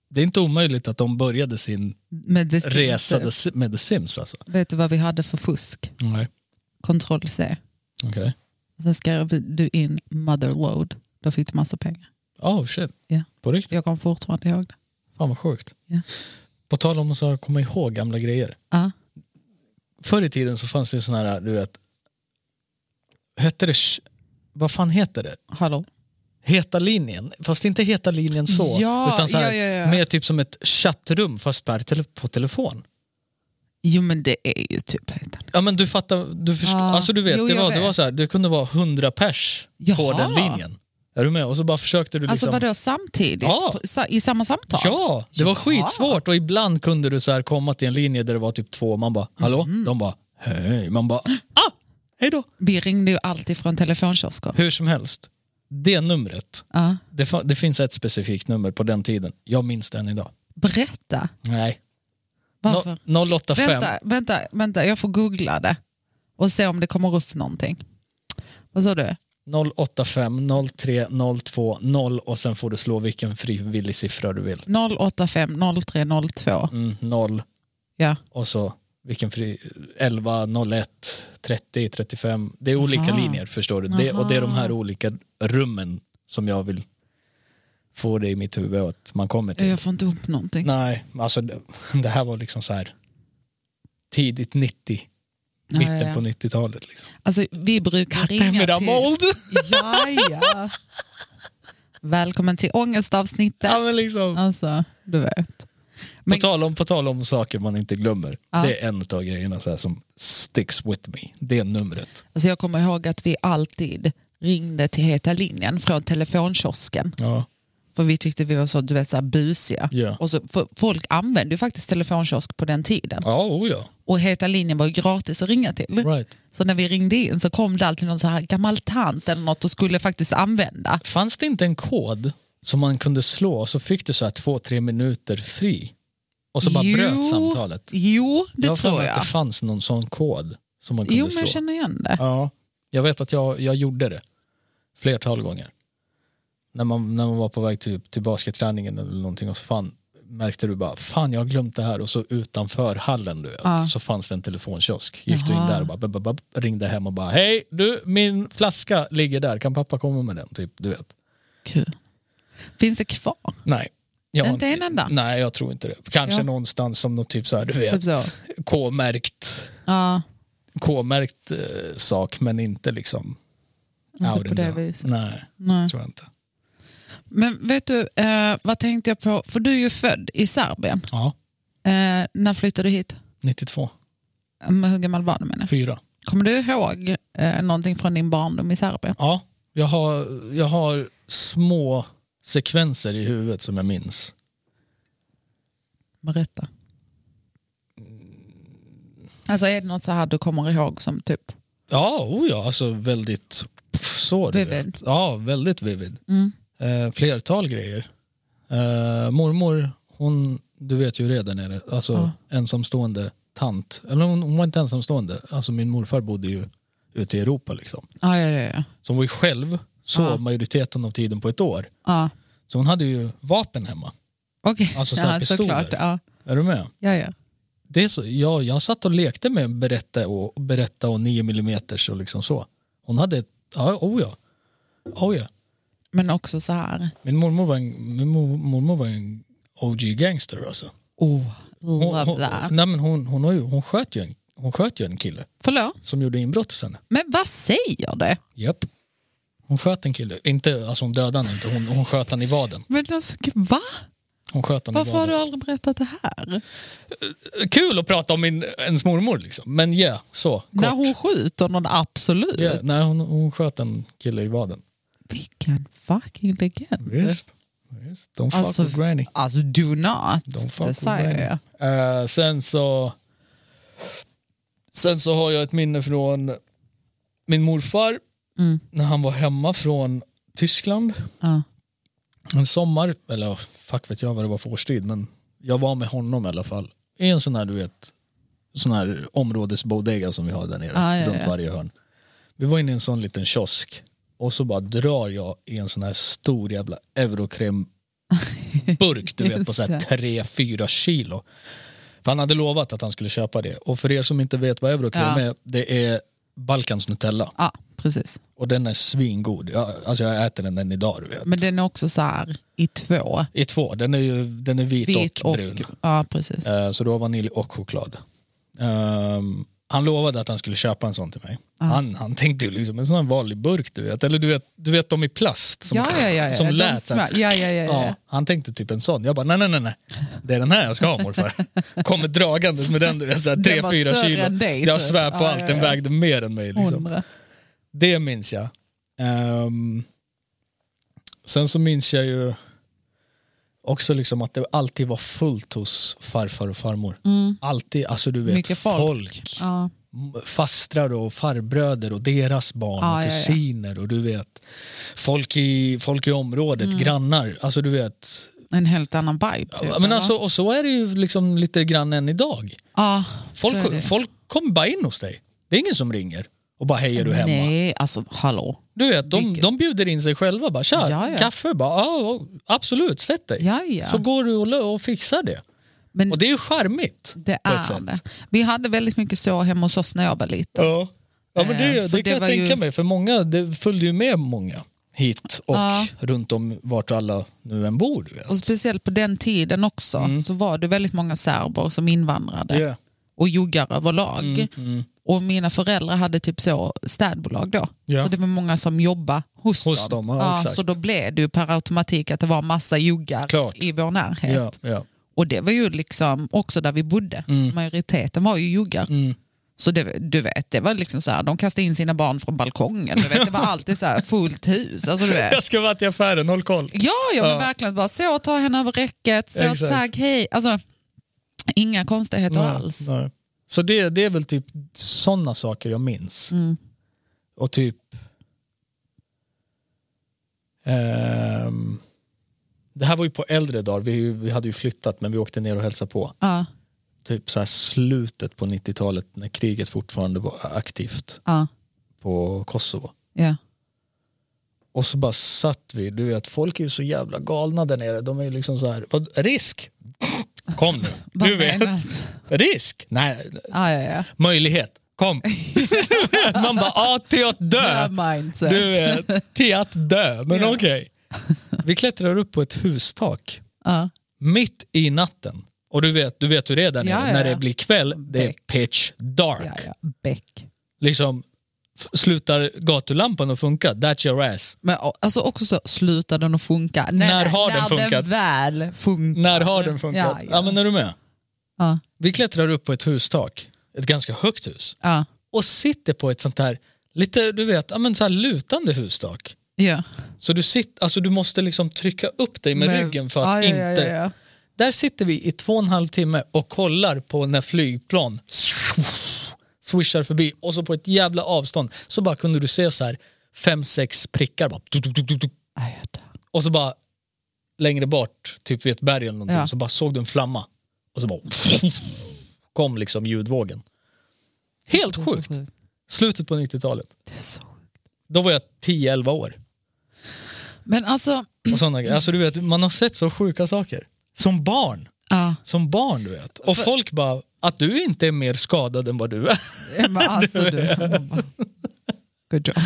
[SPEAKER 1] det är inte omöjligt att de började sin
[SPEAKER 2] Med The Sims
[SPEAKER 1] resa
[SPEAKER 2] typ.
[SPEAKER 1] The- med The Sims. Alltså.
[SPEAKER 2] Vet du vad vi hade för fusk?
[SPEAKER 1] Nej.
[SPEAKER 2] Ctrl C.
[SPEAKER 1] Okay.
[SPEAKER 2] Sen skrev du in motherload. Då fick du massa pengar.
[SPEAKER 1] Oh shit,
[SPEAKER 2] Ja.
[SPEAKER 1] på riktigt.
[SPEAKER 2] Jag kommer fortfarande ihåg det.
[SPEAKER 1] Fan vad sjukt.
[SPEAKER 2] Ja.
[SPEAKER 1] På tal om att så här komma ihåg gamla grejer.
[SPEAKER 2] Ja.
[SPEAKER 1] Förr i tiden så fanns det ju sådana här, du vet, hette det, sh- vad fan heter det?
[SPEAKER 2] Hallå?
[SPEAKER 1] Heta linjen, fast inte heta linjen så,
[SPEAKER 2] Ja,
[SPEAKER 1] utan så här,
[SPEAKER 2] ja, ja, ja.
[SPEAKER 1] mer typ som ett chattrum fast per tele- på telefon.
[SPEAKER 2] Jo men det är ju typ heta.
[SPEAKER 1] Ja men du fattar, du förstår,
[SPEAKER 2] Ja.
[SPEAKER 1] alltså du vet,
[SPEAKER 2] Jo,
[SPEAKER 1] det,
[SPEAKER 2] jag
[SPEAKER 1] var, det
[SPEAKER 2] vet.
[SPEAKER 1] var så här, det kunde vara hundra pers på
[SPEAKER 2] Jaha.
[SPEAKER 1] den linjen. Är du med? Och så bara försökte du
[SPEAKER 2] Alltså
[SPEAKER 1] liksom...
[SPEAKER 2] vadå samtidigt?
[SPEAKER 1] Ja.
[SPEAKER 2] På- sa- I samma samtal?
[SPEAKER 1] Ja, det var
[SPEAKER 2] Jaha.
[SPEAKER 1] skitsvårt och ibland kunde du så här komma till en linje där det var typ två, man bara hallå?
[SPEAKER 2] Mm.
[SPEAKER 1] De bara hej, man bara ah, hej då.
[SPEAKER 2] Vi ringde ju alltid från telefonkiosker.
[SPEAKER 1] Hur som helst, det numret,
[SPEAKER 2] Ja.
[SPEAKER 1] det, fa- det finns ett specifikt nummer på den tiden, jag minns den idag.
[SPEAKER 2] Berätta.
[SPEAKER 1] Nej.
[SPEAKER 2] Varför?
[SPEAKER 1] No, 085.
[SPEAKER 2] Vänta, vänta, vänta, jag får googla det och se om det kommer upp någonting. Vad sa du?
[SPEAKER 1] 085 03 02 0 och sen får du slå vilken frivillig siffra du vill.
[SPEAKER 2] 085 03 02.
[SPEAKER 1] Mm, 0
[SPEAKER 2] Ja.
[SPEAKER 1] och så vilken fri, 11, 01, 30, 35. Det är olika
[SPEAKER 2] Aha.
[SPEAKER 1] linjer förstår du. Det, och det är de här olika rummen som jag vill få det i mitt huvud att man kommer till.
[SPEAKER 2] Eh, Jag får inte upp någonting.
[SPEAKER 1] Nej, alltså det, det här var liksom så här tidigt 90,
[SPEAKER 2] Ja,
[SPEAKER 1] mitten
[SPEAKER 2] ja, ja.
[SPEAKER 1] på 90-talet. Liksom.
[SPEAKER 2] Alltså, vi brukar ringa
[SPEAKER 1] Damn it, I'm
[SPEAKER 2] till...
[SPEAKER 1] old!
[SPEAKER 2] Ja, ja. Välkommen till ångestavsnittet.
[SPEAKER 1] ja, men liksom,
[SPEAKER 2] Alltså, du vet.
[SPEAKER 1] på,
[SPEAKER 2] men-
[SPEAKER 1] tal om, på tal om saker man inte glömmer.
[SPEAKER 2] Ja.
[SPEAKER 1] Det är en av grejerna så här, som sticks with me. Det är numret.
[SPEAKER 2] Alltså, jag kommer ihåg att vi alltid ringde till Heta linjen från telefonkiosken.
[SPEAKER 1] Ja.
[SPEAKER 2] För vi tyckte vi var så, du vet, så här busiga.
[SPEAKER 1] Ja.
[SPEAKER 2] Och så, för folk använde ju faktiskt telefonkiosk på den tiden.
[SPEAKER 1] Ja, oh ja.
[SPEAKER 2] Och Heta linjen var ju gratis att ringa till.
[SPEAKER 1] Right.
[SPEAKER 2] Så när vi ringde in så kom det alltid någon så här gammal tant eller något och skulle faktiskt använda.
[SPEAKER 1] Fanns det inte en kod som man kunde slå och så fick du så här två, tre minuter fri? Och så bara
[SPEAKER 2] Jo,
[SPEAKER 1] bröt samtalet.
[SPEAKER 2] Jo, det
[SPEAKER 1] jag har för
[SPEAKER 2] tror
[SPEAKER 1] mig att
[SPEAKER 2] jag.
[SPEAKER 1] det fanns någon sån kod som man kunde
[SPEAKER 2] Jo, men jag
[SPEAKER 1] slå.
[SPEAKER 2] känner igen det.
[SPEAKER 1] Ja, jag vet att jag, jag gjorde det flertal gånger. När man, när man var på väg till, till basketträningen eller någonting och så fan, märkte du bara fan jag har glömt det här och så utanför hallen du vet,
[SPEAKER 2] Ja.
[SPEAKER 1] så fanns det en telefonkiosk. Gick du in
[SPEAKER 2] Jaha.
[SPEAKER 1] där och bara, bab, bab, bab, ringde hem och bara hej du min flaska ligger där kan pappa komma med den? Typ, du vet.
[SPEAKER 2] Kul. Finns det kvar?
[SPEAKER 1] Nej. Jag har
[SPEAKER 2] Inte en enda?
[SPEAKER 1] Nej jag tror inte det. Kanske
[SPEAKER 2] Ja.
[SPEAKER 1] någonstans som något typ så här, du vet
[SPEAKER 2] Typ så.
[SPEAKER 1] K-märkt
[SPEAKER 2] Ja,
[SPEAKER 1] K-märkt eh, sak men inte liksom out
[SPEAKER 2] inte på
[SPEAKER 1] in
[SPEAKER 2] det
[SPEAKER 1] the-
[SPEAKER 2] viset.
[SPEAKER 1] Nej.
[SPEAKER 2] Nej.
[SPEAKER 1] tror jag inte.
[SPEAKER 2] Men vet du, eh, vad tänkte jag på? För du är ju född i Serbien.
[SPEAKER 1] Ja.
[SPEAKER 2] Eh, när flyttade du hit?
[SPEAKER 1] 92,
[SPEAKER 2] Men Hur gammal var du menar jag?
[SPEAKER 1] fyra.
[SPEAKER 2] Kommer du ihåg eh, någonting från din barndom i Serbien?
[SPEAKER 1] Ja, jag har, jag har små sekvenser i huvudet som jag minns.
[SPEAKER 2] Berätta. Alltså är det något så här du kommer ihåg som typ...
[SPEAKER 1] Ja, oh ja alltså väldigt så. du
[SPEAKER 2] Vivid.
[SPEAKER 1] vet. Ja, väldigt vivid.
[SPEAKER 2] Mm.
[SPEAKER 1] Eh, flertal grejer. Eh, mormor, hon, du vet ju hur det är där nere, alltså
[SPEAKER 2] Ja.
[SPEAKER 1] ensamstående tant. Eller hon, hon var inte ensamstående, alltså min morfar bodde ju ute i Europa liksom.
[SPEAKER 2] Ja, ja, ja. ja.
[SPEAKER 1] Så hon var ju själv så
[SPEAKER 2] Ja.
[SPEAKER 1] majoriteten av tiden på ett år.
[SPEAKER 2] ja.
[SPEAKER 1] Så hon hade ju vapen hemma.
[SPEAKER 2] Okej,
[SPEAKER 1] Alltså så här
[SPEAKER 2] ja,
[SPEAKER 1] pistoler.
[SPEAKER 2] såklart. Ja.
[SPEAKER 1] Är du med?
[SPEAKER 2] Ja, ja.
[SPEAKER 1] Det är så, jag, jag satt och lekte med berätta och, berätta och 9 mm och liksom så. Hon hade ett, ja, oh ja. Oh ja.
[SPEAKER 2] Men också så här...
[SPEAKER 1] Min mormor var en, min mor- mormor var en OG gangster alltså.
[SPEAKER 2] Oh,
[SPEAKER 1] Hon,
[SPEAKER 2] love
[SPEAKER 1] hon,
[SPEAKER 2] that.
[SPEAKER 1] nej men hon, hon, har ju, hon, sköt ju en, hon sköt ju en kille
[SPEAKER 2] Förlåt?
[SPEAKER 1] som gjorde inbrott hos henne.
[SPEAKER 2] Men vad säger du?
[SPEAKER 1] Japp. Hon sköt en kille, inte, alltså hon dödade honom inte, hon, hon sköt han i vaden.
[SPEAKER 2] Men alltså, va?
[SPEAKER 1] Hon sköt han i
[SPEAKER 2] Varför har
[SPEAKER 1] vaden.
[SPEAKER 2] du aldrig berättat det här?
[SPEAKER 1] Kul att prata om min, ens mormor liksom, men ja, så. Kort.
[SPEAKER 2] När hon skjuter någon, absolut.
[SPEAKER 1] Ja, nej, hon, hon sköt en kille i vaden.
[SPEAKER 2] Vilken fucking legend.
[SPEAKER 1] Visst. Visst. Don't fuck
[SPEAKER 2] Alltså, typ
[SPEAKER 1] with granny.
[SPEAKER 2] Alltså do not.
[SPEAKER 1] Don't fuck
[SPEAKER 2] det
[SPEAKER 1] with
[SPEAKER 2] säger
[SPEAKER 1] granny.
[SPEAKER 2] jag.
[SPEAKER 1] Eh, sen så Sen så har jag ett minne från min morfar
[SPEAKER 2] Mm.
[SPEAKER 1] när han var hemma från Tyskland
[SPEAKER 2] Ja.
[SPEAKER 1] en sommar, eller fuck vet jag vad det var för årstid men jag var med honom i alla fall i en sån här du vet sån här områdesbodega som vi har där nere
[SPEAKER 2] Ah, ja,
[SPEAKER 1] runt
[SPEAKER 2] ja.
[SPEAKER 1] varje hörn. Vi var inne i en sån liten kiosk och så bara drar jag i en sån här stor jävla eurokräm burk du vet på
[SPEAKER 2] Just
[SPEAKER 1] så här
[SPEAKER 2] det.
[SPEAKER 1] 3-4 kilo. För han hade lovat att han skulle köpa det och för er som inte vet vad eurokräm
[SPEAKER 2] Ja.
[SPEAKER 1] är det är Balkans Nutella
[SPEAKER 2] ja, precis.
[SPEAKER 1] och den är svingod. Jag, alltså jag äter den än idag du vet.
[SPEAKER 2] Men den är också så här i två.
[SPEAKER 1] I två, den är, ju, den är vit,
[SPEAKER 2] Vit
[SPEAKER 1] och, brun.
[SPEAKER 2] Ja, precis.
[SPEAKER 1] Eh, Så du har vanilj och choklad. Ehm, han lovade att han skulle köpa en sån till mig. Han, han tänkte ju liksom en sån här vanlig burk du vet. Eller du vet, du vet de i plast som,
[SPEAKER 2] ja, ja, ja, ja.
[SPEAKER 1] som
[SPEAKER 2] De
[SPEAKER 1] lät.
[SPEAKER 2] smör- ja, ja, ja, ja.
[SPEAKER 1] Ja, han tänkte typ en sån. Jag bara nej nej nej, nej. det är den här jag ska ha morfar. Kommer dragandes med den du vet, så här, tre,
[SPEAKER 2] var
[SPEAKER 1] fyra
[SPEAKER 2] större
[SPEAKER 1] kilo.
[SPEAKER 2] än dig,
[SPEAKER 1] jag
[SPEAKER 2] typ.
[SPEAKER 1] svär på
[SPEAKER 2] Ja,
[SPEAKER 1] allt,
[SPEAKER 2] ja,
[SPEAKER 1] den
[SPEAKER 2] ja.
[SPEAKER 1] vägde mer än mig. Liksom.
[SPEAKER 2] Hundra.
[SPEAKER 1] Det minns jag. Ehm, sen så minns jag ju också liksom att det alltid var fullt hos farfar och farmor. Alltid, alltså du vet,
[SPEAKER 2] Mm. Mycket folk. Ja.
[SPEAKER 1] M- Fastrar och farbröder och deras barn
[SPEAKER 2] Ja,
[SPEAKER 1] och
[SPEAKER 2] ja, ja.
[SPEAKER 1] kusiner och du vet folk i, folk i området, grannar. Alltså du vet.
[SPEAKER 2] En helt annan vibe. Mm. Typ,
[SPEAKER 1] Men
[SPEAKER 2] eller?
[SPEAKER 1] alltså, och så är det ju liksom lite grann än idag.
[SPEAKER 2] ja, så är
[SPEAKER 1] Folk,
[SPEAKER 2] det.
[SPEAKER 1] folk kommer bara in hos dig. Det är ingen som ringer och bara hej är du hemma?
[SPEAKER 2] Nej, alltså hallå.
[SPEAKER 1] Du vet, de,
[SPEAKER 2] Vilket-
[SPEAKER 1] de bjuder in sig själva. Bara, Tja,
[SPEAKER 2] Ja, ja.
[SPEAKER 1] kaffe? Bara, ja, absolut, sätt dig.
[SPEAKER 2] Ja, ja.
[SPEAKER 1] Så går du och, lö- och fixar det.
[SPEAKER 2] Men
[SPEAKER 1] Och det är ju charmigt.
[SPEAKER 2] det
[SPEAKER 1] på ett
[SPEAKER 2] är
[SPEAKER 1] sätt.
[SPEAKER 2] det. Vi hade väldigt mycket så hemma hos oss när jag var liten.
[SPEAKER 1] Ja. ja, men
[SPEAKER 2] Eh,
[SPEAKER 1] det, det
[SPEAKER 2] för
[SPEAKER 1] kan
[SPEAKER 2] det
[SPEAKER 1] jag
[SPEAKER 2] var
[SPEAKER 1] tänka
[SPEAKER 2] ju-
[SPEAKER 1] mig. För många, det följde ju med många hit och
[SPEAKER 2] Ja.
[SPEAKER 1] runt om vart alla nu än bor. Du vet.
[SPEAKER 2] Och speciellt på den tiden också så var det väldigt många serber som invandrade
[SPEAKER 1] Mm. Ja.
[SPEAKER 2] och joggar överlag.
[SPEAKER 1] Mm,
[SPEAKER 2] Och mina föräldrar hade typ så städbolag då.
[SPEAKER 1] Ja.
[SPEAKER 2] Så det var många som jobbade hos,
[SPEAKER 1] Hos dem, ja, exakt.
[SPEAKER 2] så då blev det ju per automatik att det var massa joggar
[SPEAKER 1] Klart.
[SPEAKER 2] i vår närhet.
[SPEAKER 1] Ja, ja. Mm.
[SPEAKER 2] Och det var ju liksom också där vi bodde. Majoriteten var ju joggar. Så det, du vet, det var liksom så här, de kastade in sina barn från balkongen. Du vet, det var alltid så här fullt hus. Alltså, du vet.
[SPEAKER 1] Jag ska vara till affären, håll koll.
[SPEAKER 2] Ja, ja, men
[SPEAKER 1] Ja.
[SPEAKER 2] verkligen. Bara så, ta henne över räcket, så
[SPEAKER 1] Exakt.
[SPEAKER 2] tack, hej. Alltså, inga konstigheter alls.
[SPEAKER 1] Nej. Så det, det är väl typ sådana saker jag minns.
[SPEAKER 2] Mm.
[SPEAKER 1] Och typ... Ehm, det här var ju på äldre dagar, vi, vi hade ju flyttat men vi åkte ner och hälsade på.
[SPEAKER 2] Ja,
[SPEAKER 1] Typ så här slutet på 90-talet när kriget fortfarande var aktivt
[SPEAKER 2] ja,
[SPEAKER 1] på Kosovo.
[SPEAKER 2] ja.
[SPEAKER 1] Och så bara satt vi, du vet folk är ju så jävla galna där nere. De är ju liksom så här, vad, risk? Kom nu,
[SPEAKER 2] Vad
[SPEAKER 1] du vet.
[SPEAKER 2] menas?
[SPEAKER 1] Risk? Nej,
[SPEAKER 2] Ja, ja, ja.
[SPEAKER 1] möjlighet, kom. Man bara, ja till att dö.
[SPEAKER 2] Bra mindset.
[SPEAKER 1] Du vet, till att dö, men
[SPEAKER 2] Ja.
[SPEAKER 1] okej. Vi klättrar upp på ett hustak
[SPEAKER 2] Ja.
[SPEAKER 1] mitt i natten. Och du vet, du vet hur det är där nere,
[SPEAKER 2] Ja, ja,
[SPEAKER 1] när
[SPEAKER 2] ja.
[SPEAKER 1] det blir kväll, det är
[SPEAKER 2] Beck.
[SPEAKER 1] pitch dark.
[SPEAKER 2] Ja, ja. Beck.
[SPEAKER 1] Liksom, f- slutar gatulampan att funka, that's your ass.
[SPEAKER 2] Men o- alltså också så, slutar den att funka? Nej,
[SPEAKER 1] När
[SPEAKER 2] nej,
[SPEAKER 1] har den
[SPEAKER 2] när
[SPEAKER 1] funkat?
[SPEAKER 2] den väl funkar.
[SPEAKER 1] När har den funkat?
[SPEAKER 2] Ja, ja.
[SPEAKER 1] Ja, men är du med?
[SPEAKER 2] Ja,
[SPEAKER 1] Vi klättrar upp på ett hustak, ett ganska högt hus,
[SPEAKER 2] ja,
[SPEAKER 1] och sitter på ett sånt här, lite du vet, ja, men så här lutande hustak.
[SPEAKER 2] ja.
[SPEAKER 1] Så du, sitter, alltså du måste liksom trycka upp dig med
[SPEAKER 2] Men-
[SPEAKER 1] ryggen för att
[SPEAKER 2] ja,
[SPEAKER 1] inte...
[SPEAKER 2] Ja, ja, ja.
[SPEAKER 1] Där sitter vi i två och en halv timme och kollar på när flygplan swishar förbi och så på ett jävla avstånd så bara kunde du se så här fem, sex prickar bara, tuk, tuk, tuk, tuk, tuk.
[SPEAKER 2] Aj, jag dör.
[SPEAKER 1] och så bara längre bort, typ vid ett berg eller någonting,
[SPEAKER 2] Ja.
[SPEAKER 1] så bara såg du en flamma och så bara kom liksom ljudvågen. Helt
[SPEAKER 2] Det är så
[SPEAKER 1] sjukt! Slutet på 90-talet.
[SPEAKER 2] Det är så sjukt.
[SPEAKER 1] Då var jag 10-11 år.
[SPEAKER 2] Men alltså,
[SPEAKER 1] Och såna, grejer. alltså, du vet, man har sett så sjuka saker. Som barn.
[SPEAKER 2] ja.
[SPEAKER 1] Som barn du vet. Och
[SPEAKER 2] För-
[SPEAKER 1] folk bara, att du inte är mer skadad än vad du är.
[SPEAKER 2] Ja, Men alltså du. Good job.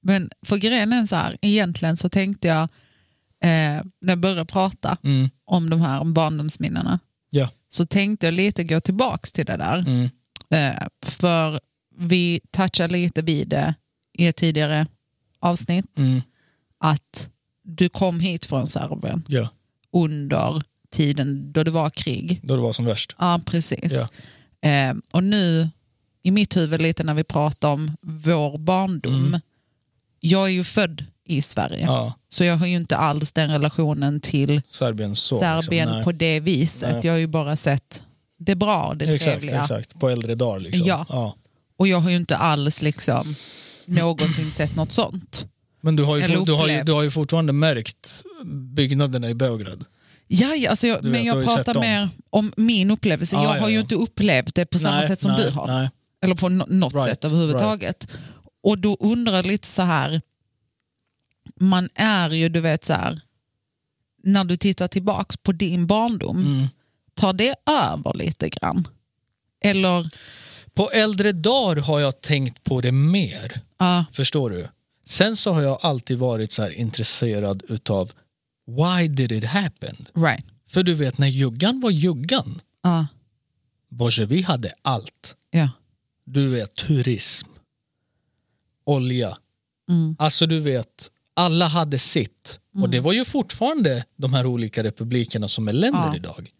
[SPEAKER 2] Men för grejen är så här, egentligen så tänkte jag eh, när jag började prata
[SPEAKER 1] Mm.
[SPEAKER 2] om de här barndomsminnena
[SPEAKER 1] Ja.
[SPEAKER 2] så tänkte jag lite gå tillbaks till det där.
[SPEAKER 1] Mm.
[SPEAKER 2] Eh, för vi touchade lite vid det i ett tidigare avsnitt
[SPEAKER 1] Mm.
[SPEAKER 2] att du kom hit från Serbien
[SPEAKER 1] ja,
[SPEAKER 2] under tiden då det var krig.
[SPEAKER 1] då det var som värst.
[SPEAKER 2] Ja, precis.
[SPEAKER 1] Ja.
[SPEAKER 2] Eh, och nu i mitt huvud lite när vi pratar om vår barndom. Jag är ju född i Sverige.
[SPEAKER 1] Mm. Ja,
[SPEAKER 2] Så jag har ju inte alls den relationen till
[SPEAKER 1] Serbien så.
[SPEAKER 2] Serbien
[SPEAKER 1] liksom. Nej.
[SPEAKER 2] på det viset.
[SPEAKER 1] Nej.
[SPEAKER 2] Jag har ju bara sett det bra, det
[SPEAKER 1] Exakt,
[SPEAKER 2] trevliga.
[SPEAKER 1] exakt. På äldre dagar liksom.
[SPEAKER 2] Ja. Och jag har ju inte alls liksom någonsin sett något sånt.
[SPEAKER 1] Men du har, ju,
[SPEAKER 2] Eller
[SPEAKER 1] fort- du, har ju,
[SPEAKER 2] upplevt.
[SPEAKER 1] du har ju fortfarande märkt byggnaderna i Belgrad.
[SPEAKER 2] Ja, ja, alltså
[SPEAKER 1] Du
[SPEAKER 2] jag, men
[SPEAKER 1] vet, du har
[SPEAKER 2] jag
[SPEAKER 1] ju sett
[SPEAKER 2] pratar
[SPEAKER 1] dem.
[SPEAKER 2] mer om min upplevelse.
[SPEAKER 1] Ja,
[SPEAKER 2] jag
[SPEAKER 1] ja,
[SPEAKER 2] har ju
[SPEAKER 1] ja.
[SPEAKER 2] inte upplevt det på samma
[SPEAKER 1] Nej,
[SPEAKER 2] sätt som
[SPEAKER 1] nej,
[SPEAKER 2] du har.
[SPEAKER 1] Nej.
[SPEAKER 2] Eller på nå- något
[SPEAKER 1] Right,
[SPEAKER 2] sätt överhuvudtaget. Och då undrar jag lite så här. Man är ju, du vet så här. När du tittar tillbaks på din barndom.
[SPEAKER 1] Mm.
[SPEAKER 2] Tar det över lite grann? Eller?
[SPEAKER 1] På äldre dagar har jag tänkt på det mer.
[SPEAKER 2] Ja,
[SPEAKER 1] Förstår du? Sen så har jag alltid varit så här intresserad utav why did it happen?
[SPEAKER 2] right.
[SPEAKER 1] För du vet när juggan var juggan,
[SPEAKER 2] Ja,
[SPEAKER 1] Bolsjevik hade allt.
[SPEAKER 2] ja.
[SPEAKER 1] Du vet turism, olja,
[SPEAKER 2] Mm.
[SPEAKER 1] alltså du vet alla hade sitt. Och det var ju fortfarande de här olika republikerna som är länder
[SPEAKER 2] Ja.
[SPEAKER 1] idag.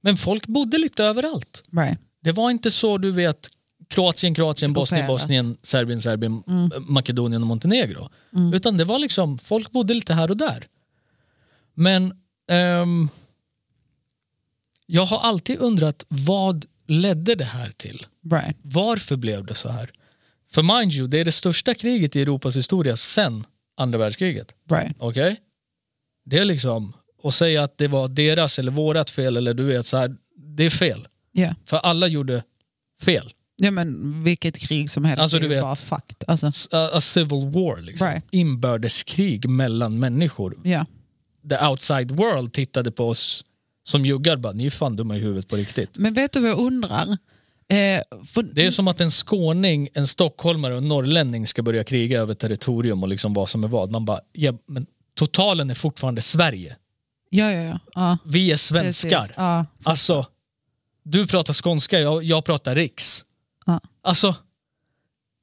[SPEAKER 1] Men folk bodde lite överallt.
[SPEAKER 2] Right.
[SPEAKER 1] Det var inte så du vet Kroatien, Kroatien, Bosnien,
[SPEAKER 2] Ockuperat.
[SPEAKER 1] Bosnien, Serbien, Serbien, eh, Makedonien och Montenegro. Utan det var liksom, folk bodde lite här och där. Men ehm, jag har alltid undrat vad ledde det här till?
[SPEAKER 2] Right.
[SPEAKER 1] Varför blev det så här? För mind you, det är det största kriget i Europas historia sedan andra världskriget.
[SPEAKER 2] Right.
[SPEAKER 1] Okej? Det är liksom, och säga att det var deras eller vårat fel eller du vet så här, det är fel.
[SPEAKER 2] Ja.
[SPEAKER 1] För alla gjorde fel.
[SPEAKER 2] ja, men vilket krig som helst
[SPEAKER 1] Alltså,
[SPEAKER 2] är
[SPEAKER 1] du
[SPEAKER 2] ju
[SPEAKER 1] vet-
[SPEAKER 2] bara fakt. Alltså,
[SPEAKER 1] S- A, a civil war, liksom.
[SPEAKER 2] Right.
[SPEAKER 1] inbördeskrig mellan människor.
[SPEAKER 2] ja.
[SPEAKER 1] The outside world tittade på oss som juggar bara, ni är fan dumma i huvudet på riktigt.
[SPEAKER 2] Men vet du vad jag undrar? Eh, för,
[SPEAKER 1] Det är som att en skåning, en stockholmare och en norrlänning ska börja kriga över territorium och liksom vad som är vad. Man bara, ja, men totalen är fortfarande Sverige.
[SPEAKER 2] ja, ja, ja. ja.
[SPEAKER 1] Vi är
[SPEAKER 2] precis.
[SPEAKER 1] svenskar.
[SPEAKER 2] Ja.
[SPEAKER 1] Alltså, du pratar skånska, jag, jag pratar riks.
[SPEAKER 2] Ja.
[SPEAKER 1] Alltså,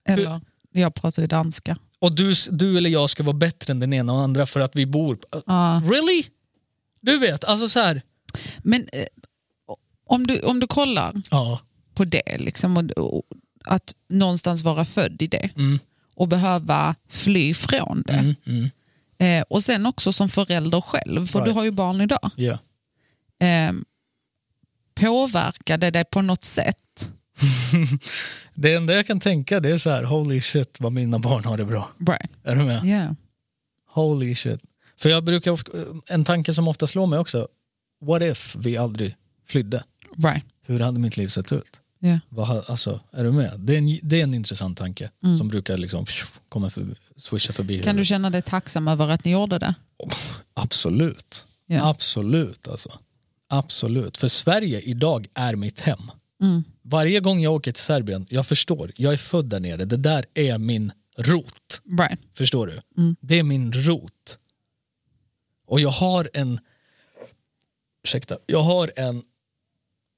[SPEAKER 2] Eller, jag pratar ju danska.
[SPEAKER 1] och du, du eller jag ska vara bättre än den ena och andra för att vi bor... på-
[SPEAKER 2] Ja.
[SPEAKER 1] Really? Du vet, alltså så här...
[SPEAKER 2] Men eh, om, du, om du kollar
[SPEAKER 1] Ja.
[SPEAKER 2] på det. Liksom, och, och att någonstans vara född i det
[SPEAKER 1] Mm.
[SPEAKER 2] och behöva fly från det.
[SPEAKER 1] Mm, mm.
[SPEAKER 2] Eh, och sen också som förälder själv, för du
[SPEAKER 1] Right.
[SPEAKER 2] har ju barn idag.
[SPEAKER 1] Ja.
[SPEAKER 2] Eh, påverkade det på något sätt?
[SPEAKER 1] Det enda jag kan tänka det är så här, holy shit vad mina barn har det bra.
[SPEAKER 2] Right.
[SPEAKER 1] Är du med?
[SPEAKER 2] Yeah.
[SPEAKER 1] Holy shit. För jag brukar, of- en tanke som ofta slår mig också, what if vi aldrig flydde?
[SPEAKER 2] Right.
[SPEAKER 1] Hur hade mitt liv sett ut?
[SPEAKER 2] Yeah.
[SPEAKER 1] Vad, ha- alltså, är du med? Det är en, det är en intressant tanke
[SPEAKER 2] Mm.
[SPEAKER 1] som brukar liksom psh, komma för, swisha förbi.
[SPEAKER 2] Kan du
[SPEAKER 1] huvudet.
[SPEAKER 2] känna dig tacksam över att ni gjorde det?
[SPEAKER 1] Absolut.
[SPEAKER 2] Ja.
[SPEAKER 1] Absolut alltså. Absolut. För Sverige idag är mitt hem.
[SPEAKER 2] Mm.
[SPEAKER 1] Varje gång jag åker till Serbien, jag förstår, jag är född där nere, det där är min rot.
[SPEAKER 2] Right.
[SPEAKER 1] Förstår du?
[SPEAKER 2] Mm.
[SPEAKER 1] Det är min rot. Och jag har en... Ursäkta. Jag har en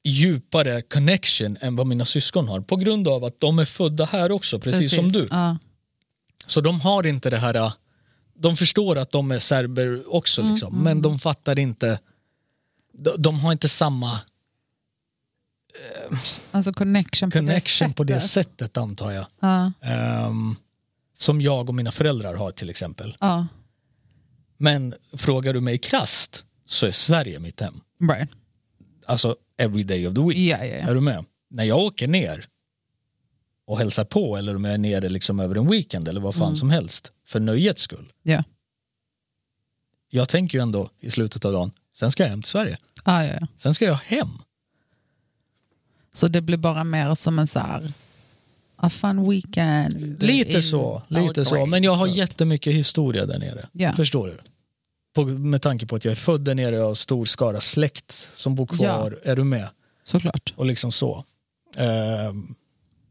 [SPEAKER 1] djupare connection än vad mina syskon har på grund av att de är födda här också, precis, som du.
[SPEAKER 2] Ja.
[SPEAKER 1] Så de har inte det här... äh, De förstår att de är serber också,
[SPEAKER 2] Mm,
[SPEAKER 1] liksom, men de fattar inte... De, de har inte samma
[SPEAKER 2] Alltså connection,
[SPEAKER 1] connection
[SPEAKER 2] på
[SPEAKER 1] på
[SPEAKER 2] det
[SPEAKER 1] det
[SPEAKER 2] sättet.
[SPEAKER 1] sättet, antar jag.
[SPEAKER 2] Ja.
[SPEAKER 1] Ehm, som jag och mina föräldrar har till exempel.
[SPEAKER 2] Ja.
[SPEAKER 1] Men frågar du mig krasst så är Sverige mitt hem.
[SPEAKER 2] Right.
[SPEAKER 1] Alltså every day of the week.
[SPEAKER 2] Ja, ja, ja.
[SPEAKER 1] Är du med? När jag åker ner och hälsar på eller om jag är nere liksom över en weekend eller vad
[SPEAKER 2] Mm.
[SPEAKER 1] fan som helst för nöjets skull.
[SPEAKER 2] Ja.
[SPEAKER 1] Jag tänker ju ändå i slutet av dagen, sen ska jag hem till Sverige.
[SPEAKER 2] Ja, ja, ja.
[SPEAKER 1] Sen ska jag hem.
[SPEAKER 2] Så det blir bara mer som en så här, a fun weekend.
[SPEAKER 1] Lite
[SPEAKER 2] in
[SPEAKER 1] så, lite så.
[SPEAKER 2] Belgrade,
[SPEAKER 1] Men jag har
[SPEAKER 2] typ.
[SPEAKER 1] jättemycket historia där nere.
[SPEAKER 2] Ja.
[SPEAKER 1] Förstår du? På, med tanke på att jag är född där nere och har stor skara släkt som bor kvar. Är du med?
[SPEAKER 2] Såklart.
[SPEAKER 1] Och liksom så. Ehm,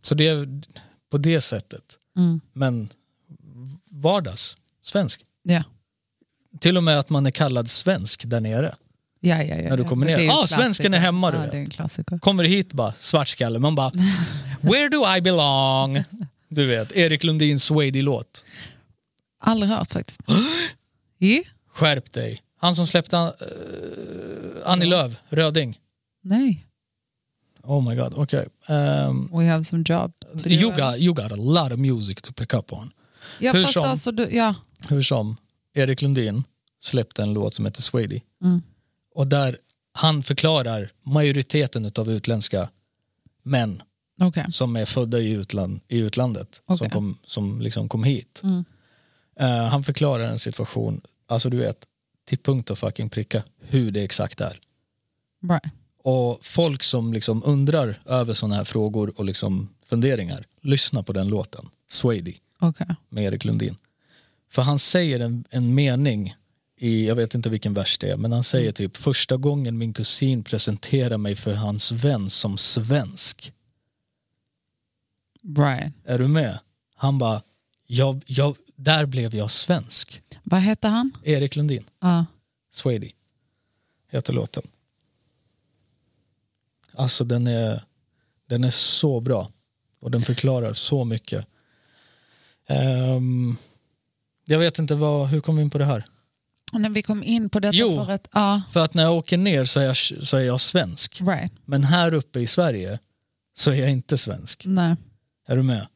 [SPEAKER 1] så det är på det sättet.
[SPEAKER 2] Mm.
[SPEAKER 1] Men vardags, svensk.
[SPEAKER 2] Ja.
[SPEAKER 1] Till och med att man är kallad svensk där nere.
[SPEAKER 2] Ja, ja, ja,
[SPEAKER 1] När du
[SPEAKER 2] ja.
[SPEAKER 1] kommer
[SPEAKER 2] Det
[SPEAKER 1] ner.
[SPEAKER 2] är en
[SPEAKER 1] Ah, svensken är
[SPEAKER 2] klassiker.
[SPEAKER 1] hemma, du
[SPEAKER 2] Ja,
[SPEAKER 1] vet.
[SPEAKER 2] det är en klassiker.
[SPEAKER 1] Kommer hit bara svartskalle. Man bara, where do I belong? Du vet, Erik Lundins Swady-låt.
[SPEAKER 2] Aldrig hört faktiskt. Jo,
[SPEAKER 1] Skärp dig. Han som släppte eh, Annie Lööf, Röding.
[SPEAKER 2] Nej,
[SPEAKER 1] Oh my god, okej. Um,
[SPEAKER 2] we have some job. to do.
[SPEAKER 1] you, got, you got a lot of music to pick up on.
[SPEAKER 2] Ja,
[SPEAKER 1] hur
[SPEAKER 2] fast
[SPEAKER 1] som.
[SPEAKER 2] alltså, du, ja.
[SPEAKER 1] Hur som, Erik Lundin släppte en låt som heter Swady.
[SPEAKER 2] Mm.
[SPEAKER 1] Och där han förklarar majoriteten av utländska män
[SPEAKER 2] Okej.
[SPEAKER 1] som är födda i, utland, i utlandet som,
[SPEAKER 2] Okej.
[SPEAKER 1] kom, som liksom kom hit.
[SPEAKER 2] Mm.
[SPEAKER 1] Eh, han förklarar en situation, alltså du vet, till punkt och fucking pricka hur det exakt är.
[SPEAKER 2] Right.
[SPEAKER 1] Och folk som liksom undrar över sådana här frågor och liksom funderingar, lyssna på den låten, Swady
[SPEAKER 2] Okej.
[SPEAKER 1] med Erik Lundin. För han säger en, en mening, i, jag vet inte vilken vers det är, men han säger typ första gången min kusin presenterar mig för hans vän som svensk.
[SPEAKER 2] Right.
[SPEAKER 1] Är du med? Han bara, jag, jag, där blev jag svensk.
[SPEAKER 2] Vad heter han?
[SPEAKER 1] Erik Lundin,
[SPEAKER 2] Ja.
[SPEAKER 1] Swady, heter låten. Alltså den är, den är så bra och den förklarar så mycket. Ehm, jag vet inte, vad, hur kom vi in på det här?
[SPEAKER 2] När vi kom in på detta
[SPEAKER 1] Jo.
[SPEAKER 2] för att... Ja,
[SPEAKER 1] För att när jag åker ner så är jag, så är jag svensk.
[SPEAKER 2] right.
[SPEAKER 1] Men här uppe i Sverige så är jag inte svensk.
[SPEAKER 2] Nej.
[SPEAKER 1] Är du med?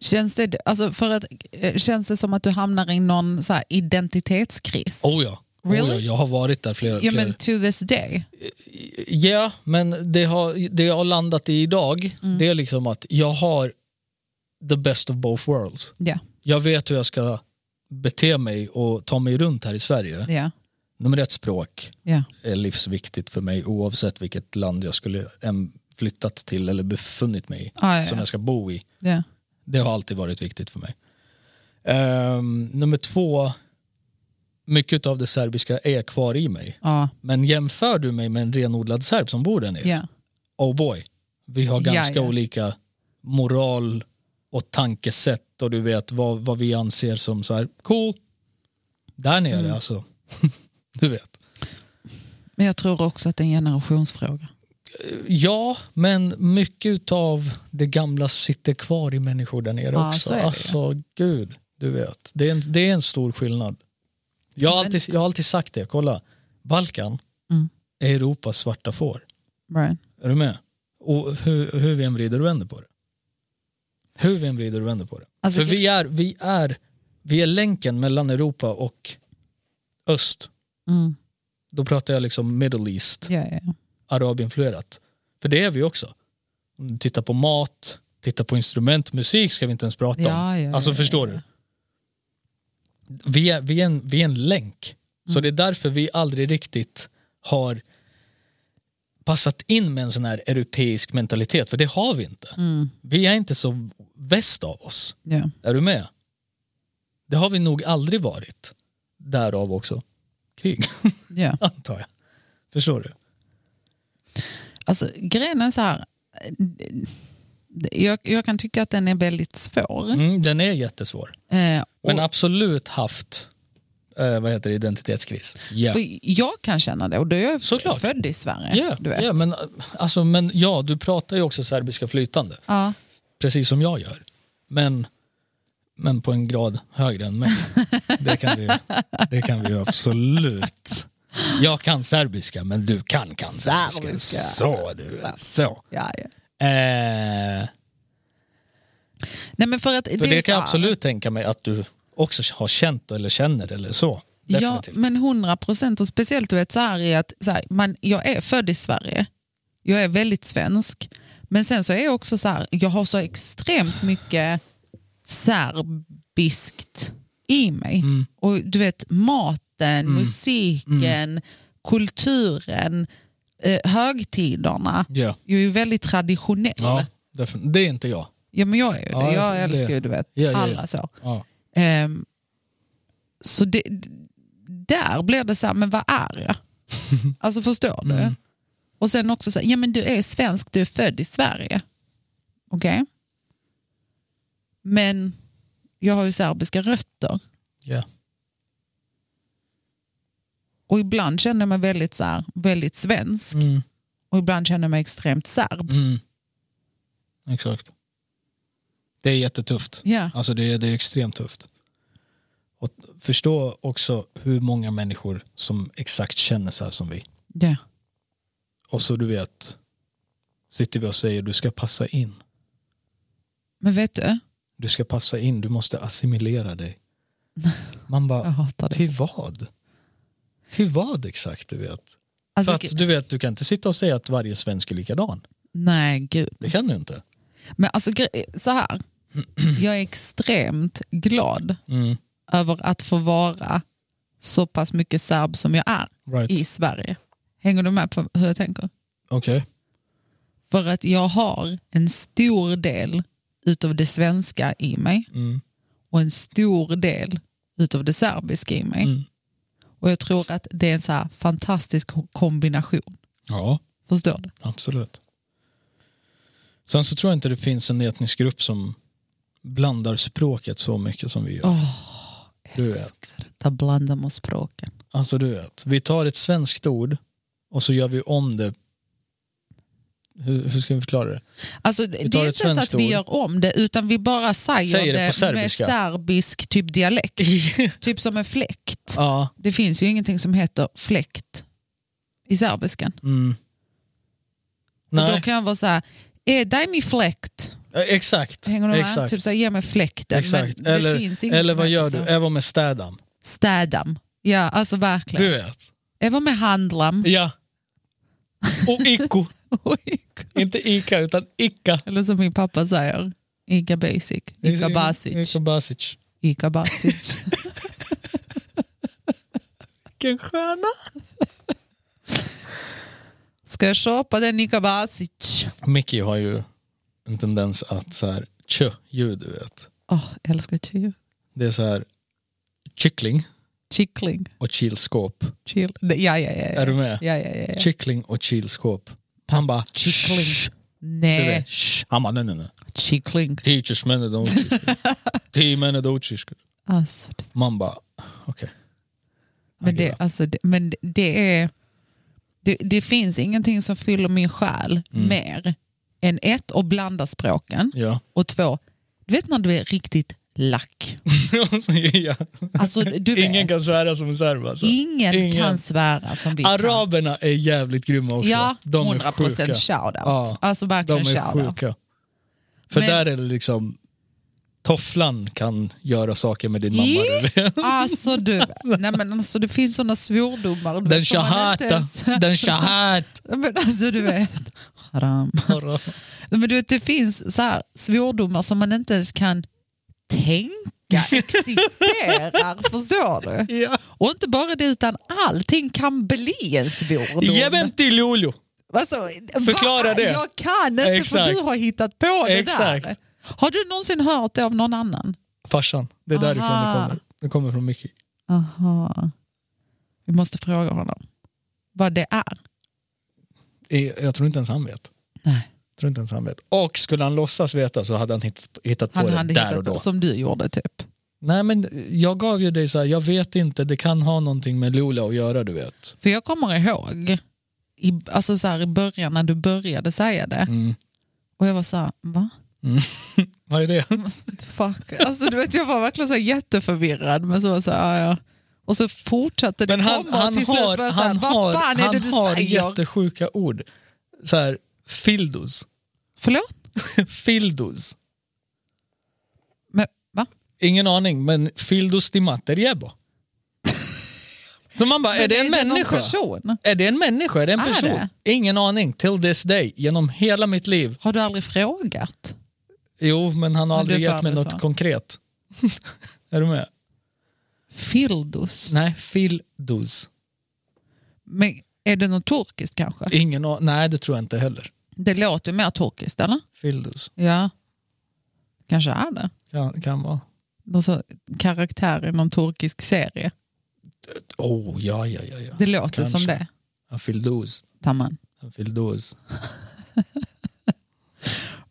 [SPEAKER 2] Känns det, alltså för att, eh, känns det som att du hamnar i någon så här identitetskris?
[SPEAKER 1] Oh ja.
[SPEAKER 2] Really?
[SPEAKER 1] Oh ja jag har varit där flera...
[SPEAKER 2] ja,
[SPEAKER 1] flera.
[SPEAKER 2] men to this day.
[SPEAKER 1] Ja, men det, har, det jag har landat i idag
[SPEAKER 2] Mm.
[SPEAKER 1] det är liksom att jag har the best of both worlds.
[SPEAKER 2] Ja,
[SPEAKER 1] Jag vet hur jag ska bete mig och ta mig runt här i Sverige.
[SPEAKER 2] ja,
[SPEAKER 1] Nummer ett, språk
[SPEAKER 2] ja.
[SPEAKER 1] är livsviktigt för mig oavsett vilket land jag skulle än flyttat till eller befunnit mig i,
[SPEAKER 2] Ah, ja,
[SPEAKER 1] som
[SPEAKER 2] ja,
[SPEAKER 1] jag ska bo i.
[SPEAKER 2] ja.
[SPEAKER 1] Det har alltid varit viktigt för mig. Ehm, nummer två, mycket av det serbiska är kvar i mig.
[SPEAKER 2] Ja,
[SPEAKER 1] Men jämför du mig med en renodlad serb som bor där nere,
[SPEAKER 2] ja.
[SPEAKER 1] oh boy, vi har
[SPEAKER 2] Ja,
[SPEAKER 1] ganska
[SPEAKER 2] ja.
[SPEAKER 1] olika moral och tankesätt och du vet vad, vad vi anser som så här cool. Där nere
[SPEAKER 2] Mm.
[SPEAKER 1] alltså, du vet.
[SPEAKER 2] Men jag tror också att det är en generationsfråga.
[SPEAKER 1] Ja, men mycket av det gamla sitter kvar i människor där nere
[SPEAKER 2] Ja,
[SPEAKER 1] också.
[SPEAKER 2] så är det ju.
[SPEAKER 1] alltså gud, du vet. Det är en, det är en stor skillnad. Jag har,
[SPEAKER 2] Men-
[SPEAKER 1] alltid, jag har alltid sagt det, kolla. Balkan
[SPEAKER 2] Mm.
[SPEAKER 1] är Europas svarta får.
[SPEAKER 2] Right.
[SPEAKER 1] Är du med? Och hur, hur vi än vrider och vänder på det. Hur vi än vrider och vänder på det.
[SPEAKER 2] Alltså,
[SPEAKER 1] För vi är, vi, är, vi är länken mellan Europa och öst.
[SPEAKER 2] Mm.
[SPEAKER 1] Då pratar jag liksom Middle East,
[SPEAKER 2] Ja, ja, ja.
[SPEAKER 1] arabinfluerat. För det är vi också. Om du tittar på mat, tittar på instrument, musik ska vi inte ens prata
[SPEAKER 2] Ja, ja,
[SPEAKER 1] om.
[SPEAKER 2] ja,
[SPEAKER 1] Alltså
[SPEAKER 2] ja,
[SPEAKER 1] förstår
[SPEAKER 2] ja.
[SPEAKER 1] du? Vi är, vi, är en, vi är en länk. Så det är därför vi aldrig riktigt har passat in med en sån här europeisk mentalitet, för det har vi inte.
[SPEAKER 2] Mm.
[SPEAKER 1] Vi är inte så väst av oss.
[SPEAKER 2] ja.
[SPEAKER 1] Är du med? Det har vi nog aldrig varit. Därav också krig,
[SPEAKER 2] ja.
[SPEAKER 1] antar jag. Förstår du?
[SPEAKER 2] Alltså, grejen är så här. eh, Jag, jag kan tycka att den är väldigt svår.
[SPEAKER 1] Mm, den är jättesvår.
[SPEAKER 2] Eh, och
[SPEAKER 1] Men absolut haft eh, vad heter det, identitetskris. Ja,
[SPEAKER 2] för jag kan känna det och då är jag
[SPEAKER 1] Såklart.
[SPEAKER 2] född i Sverige.
[SPEAKER 1] ja,
[SPEAKER 2] du vet.
[SPEAKER 1] ja, men, eh, alltså, men ja, du pratar ju också serbiska flytande,
[SPEAKER 2] ja.
[SPEAKER 1] precis som jag gör. Men, men på en grad högre än mig. Det kan vi, det kan vi absolut. Jag kan serbiska, men du kan kan serbiska.
[SPEAKER 2] Serbiska.
[SPEAKER 1] Så du, så.
[SPEAKER 2] Ja, ja.
[SPEAKER 1] Eh,
[SPEAKER 2] Nej, men för att
[SPEAKER 1] för det,
[SPEAKER 2] är så
[SPEAKER 1] kan jag
[SPEAKER 2] här-
[SPEAKER 1] absolut tänka mig att du också har känt eller känner eller så.
[SPEAKER 2] Ja,
[SPEAKER 1] Definitivt.
[SPEAKER 2] men 100 procent. Och speciellt du vet, så här är att så här, man, jag är född i Sverige. Jag är väldigt svensk. Men sen så är jag också så här, jag har så extremt mycket serbiskt i mig.
[SPEAKER 1] Mm.
[SPEAKER 2] Och du vet maten, musiken,
[SPEAKER 1] Mm.
[SPEAKER 2] kulturen, eh, högtiderna.
[SPEAKER 1] Ja.
[SPEAKER 2] Jag är ju väldigt traditionell.
[SPEAKER 1] Ja,
[SPEAKER 2] Ja.
[SPEAKER 1] defin- det är inte jag.
[SPEAKER 2] men jag är ju det.
[SPEAKER 1] Ja,
[SPEAKER 2] jag
[SPEAKER 1] det-
[SPEAKER 2] älskar ju du vet
[SPEAKER 1] Ja, ja, ja.
[SPEAKER 2] alla så.
[SPEAKER 1] Ja.
[SPEAKER 2] Ehm, så det, där blir det så här, men vad är jag? Alltså förstår du?
[SPEAKER 1] Mm.
[SPEAKER 2] Och sen också så här, ja men du är svensk, du är född i Sverige. Okej? Men jag har ju serbiska rötter.
[SPEAKER 1] Ja.
[SPEAKER 2] Och ibland känner jag mig väldigt, så här, väldigt svensk.
[SPEAKER 1] Mm.
[SPEAKER 2] Och ibland känner jag mig extremt serb.
[SPEAKER 1] Mm. Exakt. Det är jättetufft.
[SPEAKER 2] Ja.
[SPEAKER 1] Alltså det är, det är extremt tufft. Och förstå också hur många människor som exakt känner så här som vi.
[SPEAKER 2] Ja.
[SPEAKER 1] Och så du vet, sitter vi och säger du ska passa in.
[SPEAKER 2] Men vet du?
[SPEAKER 1] Du ska passa in, du måste assimilera dig. Man bara,
[SPEAKER 2] Jag hatar det.
[SPEAKER 1] Till vad? Till vad exakt du vet?
[SPEAKER 2] Alltså,
[SPEAKER 1] För att du vet, du kan inte sitta och säga att varje svensk är likadan.
[SPEAKER 2] nej, gud.
[SPEAKER 1] Det kan du inte.
[SPEAKER 2] Men alltså gre- så här. Jag är extremt glad
[SPEAKER 1] Mm.
[SPEAKER 2] över att få vara så pass mycket serb som jag är
[SPEAKER 1] Right.
[SPEAKER 2] i Sverige. Hänger du med på hur jag tänker?
[SPEAKER 1] Okej.
[SPEAKER 2] För att jag har en stor del utav det svenska i mig
[SPEAKER 1] Mm.
[SPEAKER 2] och en stor del utav det serbiska i mig.
[SPEAKER 1] Mm.
[SPEAKER 2] Och jag tror att det är en så här fantastisk kombination.
[SPEAKER 1] Ja,
[SPEAKER 2] Förstår du?
[SPEAKER 1] absolut. Sen så tror jag inte det finns en etnisk grupp som blandar språket så mycket som vi gör. du vet.
[SPEAKER 2] Älskar att blanda med språken.
[SPEAKER 1] Alltså du vet, vi tar ett svenskt ord och så gör vi om det. Hur, hur ska vi förklara det?
[SPEAKER 2] Alltså, det
[SPEAKER 1] tar
[SPEAKER 2] är
[SPEAKER 1] ett
[SPEAKER 2] inte så att
[SPEAKER 1] svenskt
[SPEAKER 2] vi
[SPEAKER 1] ord.
[SPEAKER 2] gör om det utan vi bara säger,
[SPEAKER 1] Säger det på
[SPEAKER 2] det med
[SPEAKER 1] serbiska.
[SPEAKER 2] serbisk typ dialekt. typ som en fläkt.
[SPEAKER 1] Ja,
[SPEAKER 2] Det finns ju ingenting som heter fläkt i serbiskan.
[SPEAKER 1] mm.
[SPEAKER 2] Och
[SPEAKER 1] Nej,
[SPEAKER 2] Då kan jag vara så här, är dig min fläkt?
[SPEAKER 1] exakt.
[SPEAKER 2] Hänger du med?
[SPEAKER 1] exakt.
[SPEAKER 2] Typ så här, ge mig fläkten.
[SPEAKER 1] Exakt.
[SPEAKER 2] Men det finns
[SPEAKER 1] Eller,
[SPEAKER 2] inget
[SPEAKER 1] eller
[SPEAKER 2] som
[SPEAKER 1] vad
[SPEAKER 2] heter
[SPEAKER 1] gör
[SPEAKER 2] så.
[SPEAKER 1] du? Även med städam.
[SPEAKER 2] Städam. Ja, alltså verkligen.
[SPEAKER 1] Du vet.
[SPEAKER 2] Även med handlam.
[SPEAKER 1] Ja. Och icko. Inte Ica utan Ica.
[SPEAKER 2] Eller som min pappa säger, Ica Basic. Ica Basic.
[SPEAKER 1] Ica Basic.
[SPEAKER 2] Ica Basic.
[SPEAKER 1] Vilken stjärna.
[SPEAKER 2] Ska jag köpa den Ica Basic?
[SPEAKER 1] Mickey har ju en tendens att så här tjö-ljud du vet.
[SPEAKER 2] Åh, jag älskar chill.
[SPEAKER 1] Det är så här kyckling
[SPEAKER 2] Chickling.
[SPEAKER 1] och kylskåp.
[SPEAKER 2] Chill. Ja, ja, ja.
[SPEAKER 1] Är
[SPEAKER 2] ja.
[SPEAKER 1] du med?
[SPEAKER 2] ja, ja, ja, ja.
[SPEAKER 1] Kyckling och kylskåp. Han bara
[SPEAKER 2] Kyckling.
[SPEAKER 1] "Shh." Du
[SPEAKER 2] Nej,
[SPEAKER 1] vet. "Shh." Han bara nej nej nej.
[SPEAKER 2] chickling.
[SPEAKER 1] Ti ćeš mene da učiš. Ti mene da učiš.
[SPEAKER 2] Alltså, det-
[SPEAKER 1] Man bara okej.
[SPEAKER 2] men
[SPEAKER 1] Agera.
[SPEAKER 2] det, alltså, det, men det- det är... Det, det finns ingenting som fyller min själ
[SPEAKER 1] Mm.
[SPEAKER 2] mer än ett, att blanda språken
[SPEAKER 1] Ja.
[SPEAKER 2] och två, du vet när du är riktigt lack.
[SPEAKER 1] Och så är jag-
[SPEAKER 2] Alltså, du vet,
[SPEAKER 1] Ingen kan svära som en serb alltså.
[SPEAKER 2] ingen,
[SPEAKER 1] ingen.
[SPEAKER 2] kan svära som vi kan.
[SPEAKER 1] Araberna är jävligt grymma också.
[SPEAKER 2] Ja,
[SPEAKER 1] de är
[SPEAKER 2] 100%
[SPEAKER 1] sjuka.
[SPEAKER 2] shoutout.
[SPEAKER 1] Ja,
[SPEAKER 2] alltså
[SPEAKER 1] De
[SPEAKER 2] verkligen
[SPEAKER 1] är
[SPEAKER 2] shoutout.
[SPEAKER 1] sjuka. För
[SPEAKER 2] Men-
[SPEAKER 1] där är det liksom, tofflan kan göra saker med din mamma.
[SPEAKER 2] Ja.
[SPEAKER 1] du vet.
[SPEAKER 2] Alltså du, nej men alltså det finns sådana svordomar. du
[SPEAKER 1] Den
[SPEAKER 2] vet, som man
[SPEAKER 1] shahata,
[SPEAKER 2] inte ens-
[SPEAKER 1] den shahat.
[SPEAKER 2] Men alltså du vet, haram. Nej, Men du vet, det finns så här svordomar som man inte ens kan tänka existerar, förstår du?
[SPEAKER 1] Ja.
[SPEAKER 2] Och inte bara det, utan allting kan bli en svordom.
[SPEAKER 1] Jebem till Luleå.
[SPEAKER 2] Alltså,
[SPEAKER 1] Förklara
[SPEAKER 2] va?
[SPEAKER 1] det.
[SPEAKER 2] Jag kan inte för
[SPEAKER 1] Exakt.
[SPEAKER 2] du har hittat på det där.
[SPEAKER 1] Exakt.
[SPEAKER 2] Har du någonsin hört det av någon annan?
[SPEAKER 1] Farsan, det är därifrån det
[SPEAKER 2] Aha.
[SPEAKER 1] kommer. Det kommer från Mickey.
[SPEAKER 2] Aha. Vi måste fråga honom vad det är.
[SPEAKER 1] Eh, Jag tror inte ens han vet.
[SPEAKER 2] Nej.
[SPEAKER 1] Jag tror inte ens han vet. Och skulle han låtsas veta så hade han hittat, hittat på
[SPEAKER 2] Han
[SPEAKER 1] det
[SPEAKER 2] hade
[SPEAKER 1] där
[SPEAKER 2] hittat
[SPEAKER 1] och då.
[SPEAKER 2] som du gjorde typ.
[SPEAKER 1] Nej men jag gav ju dig så här, jag vet inte, det kan ha någonting med Luleå att göra du vet.
[SPEAKER 2] För jag kommer ihåg i, alltså så här, i början när du började säga det.
[SPEAKER 1] Mm.
[SPEAKER 2] Och jag var så här, va?
[SPEAKER 1] Vad är det?
[SPEAKER 2] Fuck. Alltså, du vet, jag var verkligen så här jätteförvirrad. Men så var jag så här, ja, ja. Och så fortsatte det
[SPEAKER 1] Men han,
[SPEAKER 2] komma och
[SPEAKER 1] han
[SPEAKER 2] till slut var
[SPEAKER 1] har,
[SPEAKER 2] jag så här,
[SPEAKER 1] han
[SPEAKER 2] vad
[SPEAKER 1] har,
[SPEAKER 2] fan är det du
[SPEAKER 1] han har
[SPEAKER 2] säger?
[SPEAKER 1] jättesjuka ord. Så här, fildos.
[SPEAKER 2] Förlåt?
[SPEAKER 1] fildos.
[SPEAKER 2] Men, va?
[SPEAKER 1] Ingen aning, men fildos di mater jäbo. Så man bara, är det en
[SPEAKER 2] Men
[SPEAKER 1] människa?
[SPEAKER 2] Någon person?
[SPEAKER 1] Är det en människa? Är det en
[SPEAKER 2] Är
[SPEAKER 1] person?
[SPEAKER 2] det?
[SPEAKER 1] Ingen aning. Till this day. Genom hela mitt liv.
[SPEAKER 2] Har du aldrig frågat?
[SPEAKER 1] Jo, men han har
[SPEAKER 2] Men
[SPEAKER 1] aldrig
[SPEAKER 2] det är
[SPEAKER 1] gett mig
[SPEAKER 2] fan
[SPEAKER 1] något
[SPEAKER 2] så.
[SPEAKER 1] konkret. är du med?
[SPEAKER 2] Fildos?
[SPEAKER 1] Nej, fildos.
[SPEAKER 2] Men är det något turkiskt kanske?
[SPEAKER 1] Ingen a- Nej, det tror jag inte heller.
[SPEAKER 2] Det låter ju mer turkiskt, eller?
[SPEAKER 1] Fildos.
[SPEAKER 2] Ja. Kanske är det.
[SPEAKER 1] Kan, kan vara.
[SPEAKER 2] Någon sån karaktär i någon turkisk serie.
[SPEAKER 1] Oh, ja, ja, ja. ja.
[SPEAKER 2] Det låter
[SPEAKER 1] Kanske.
[SPEAKER 2] som det.
[SPEAKER 1] En fildos.
[SPEAKER 2] Tamman.
[SPEAKER 1] En fildos.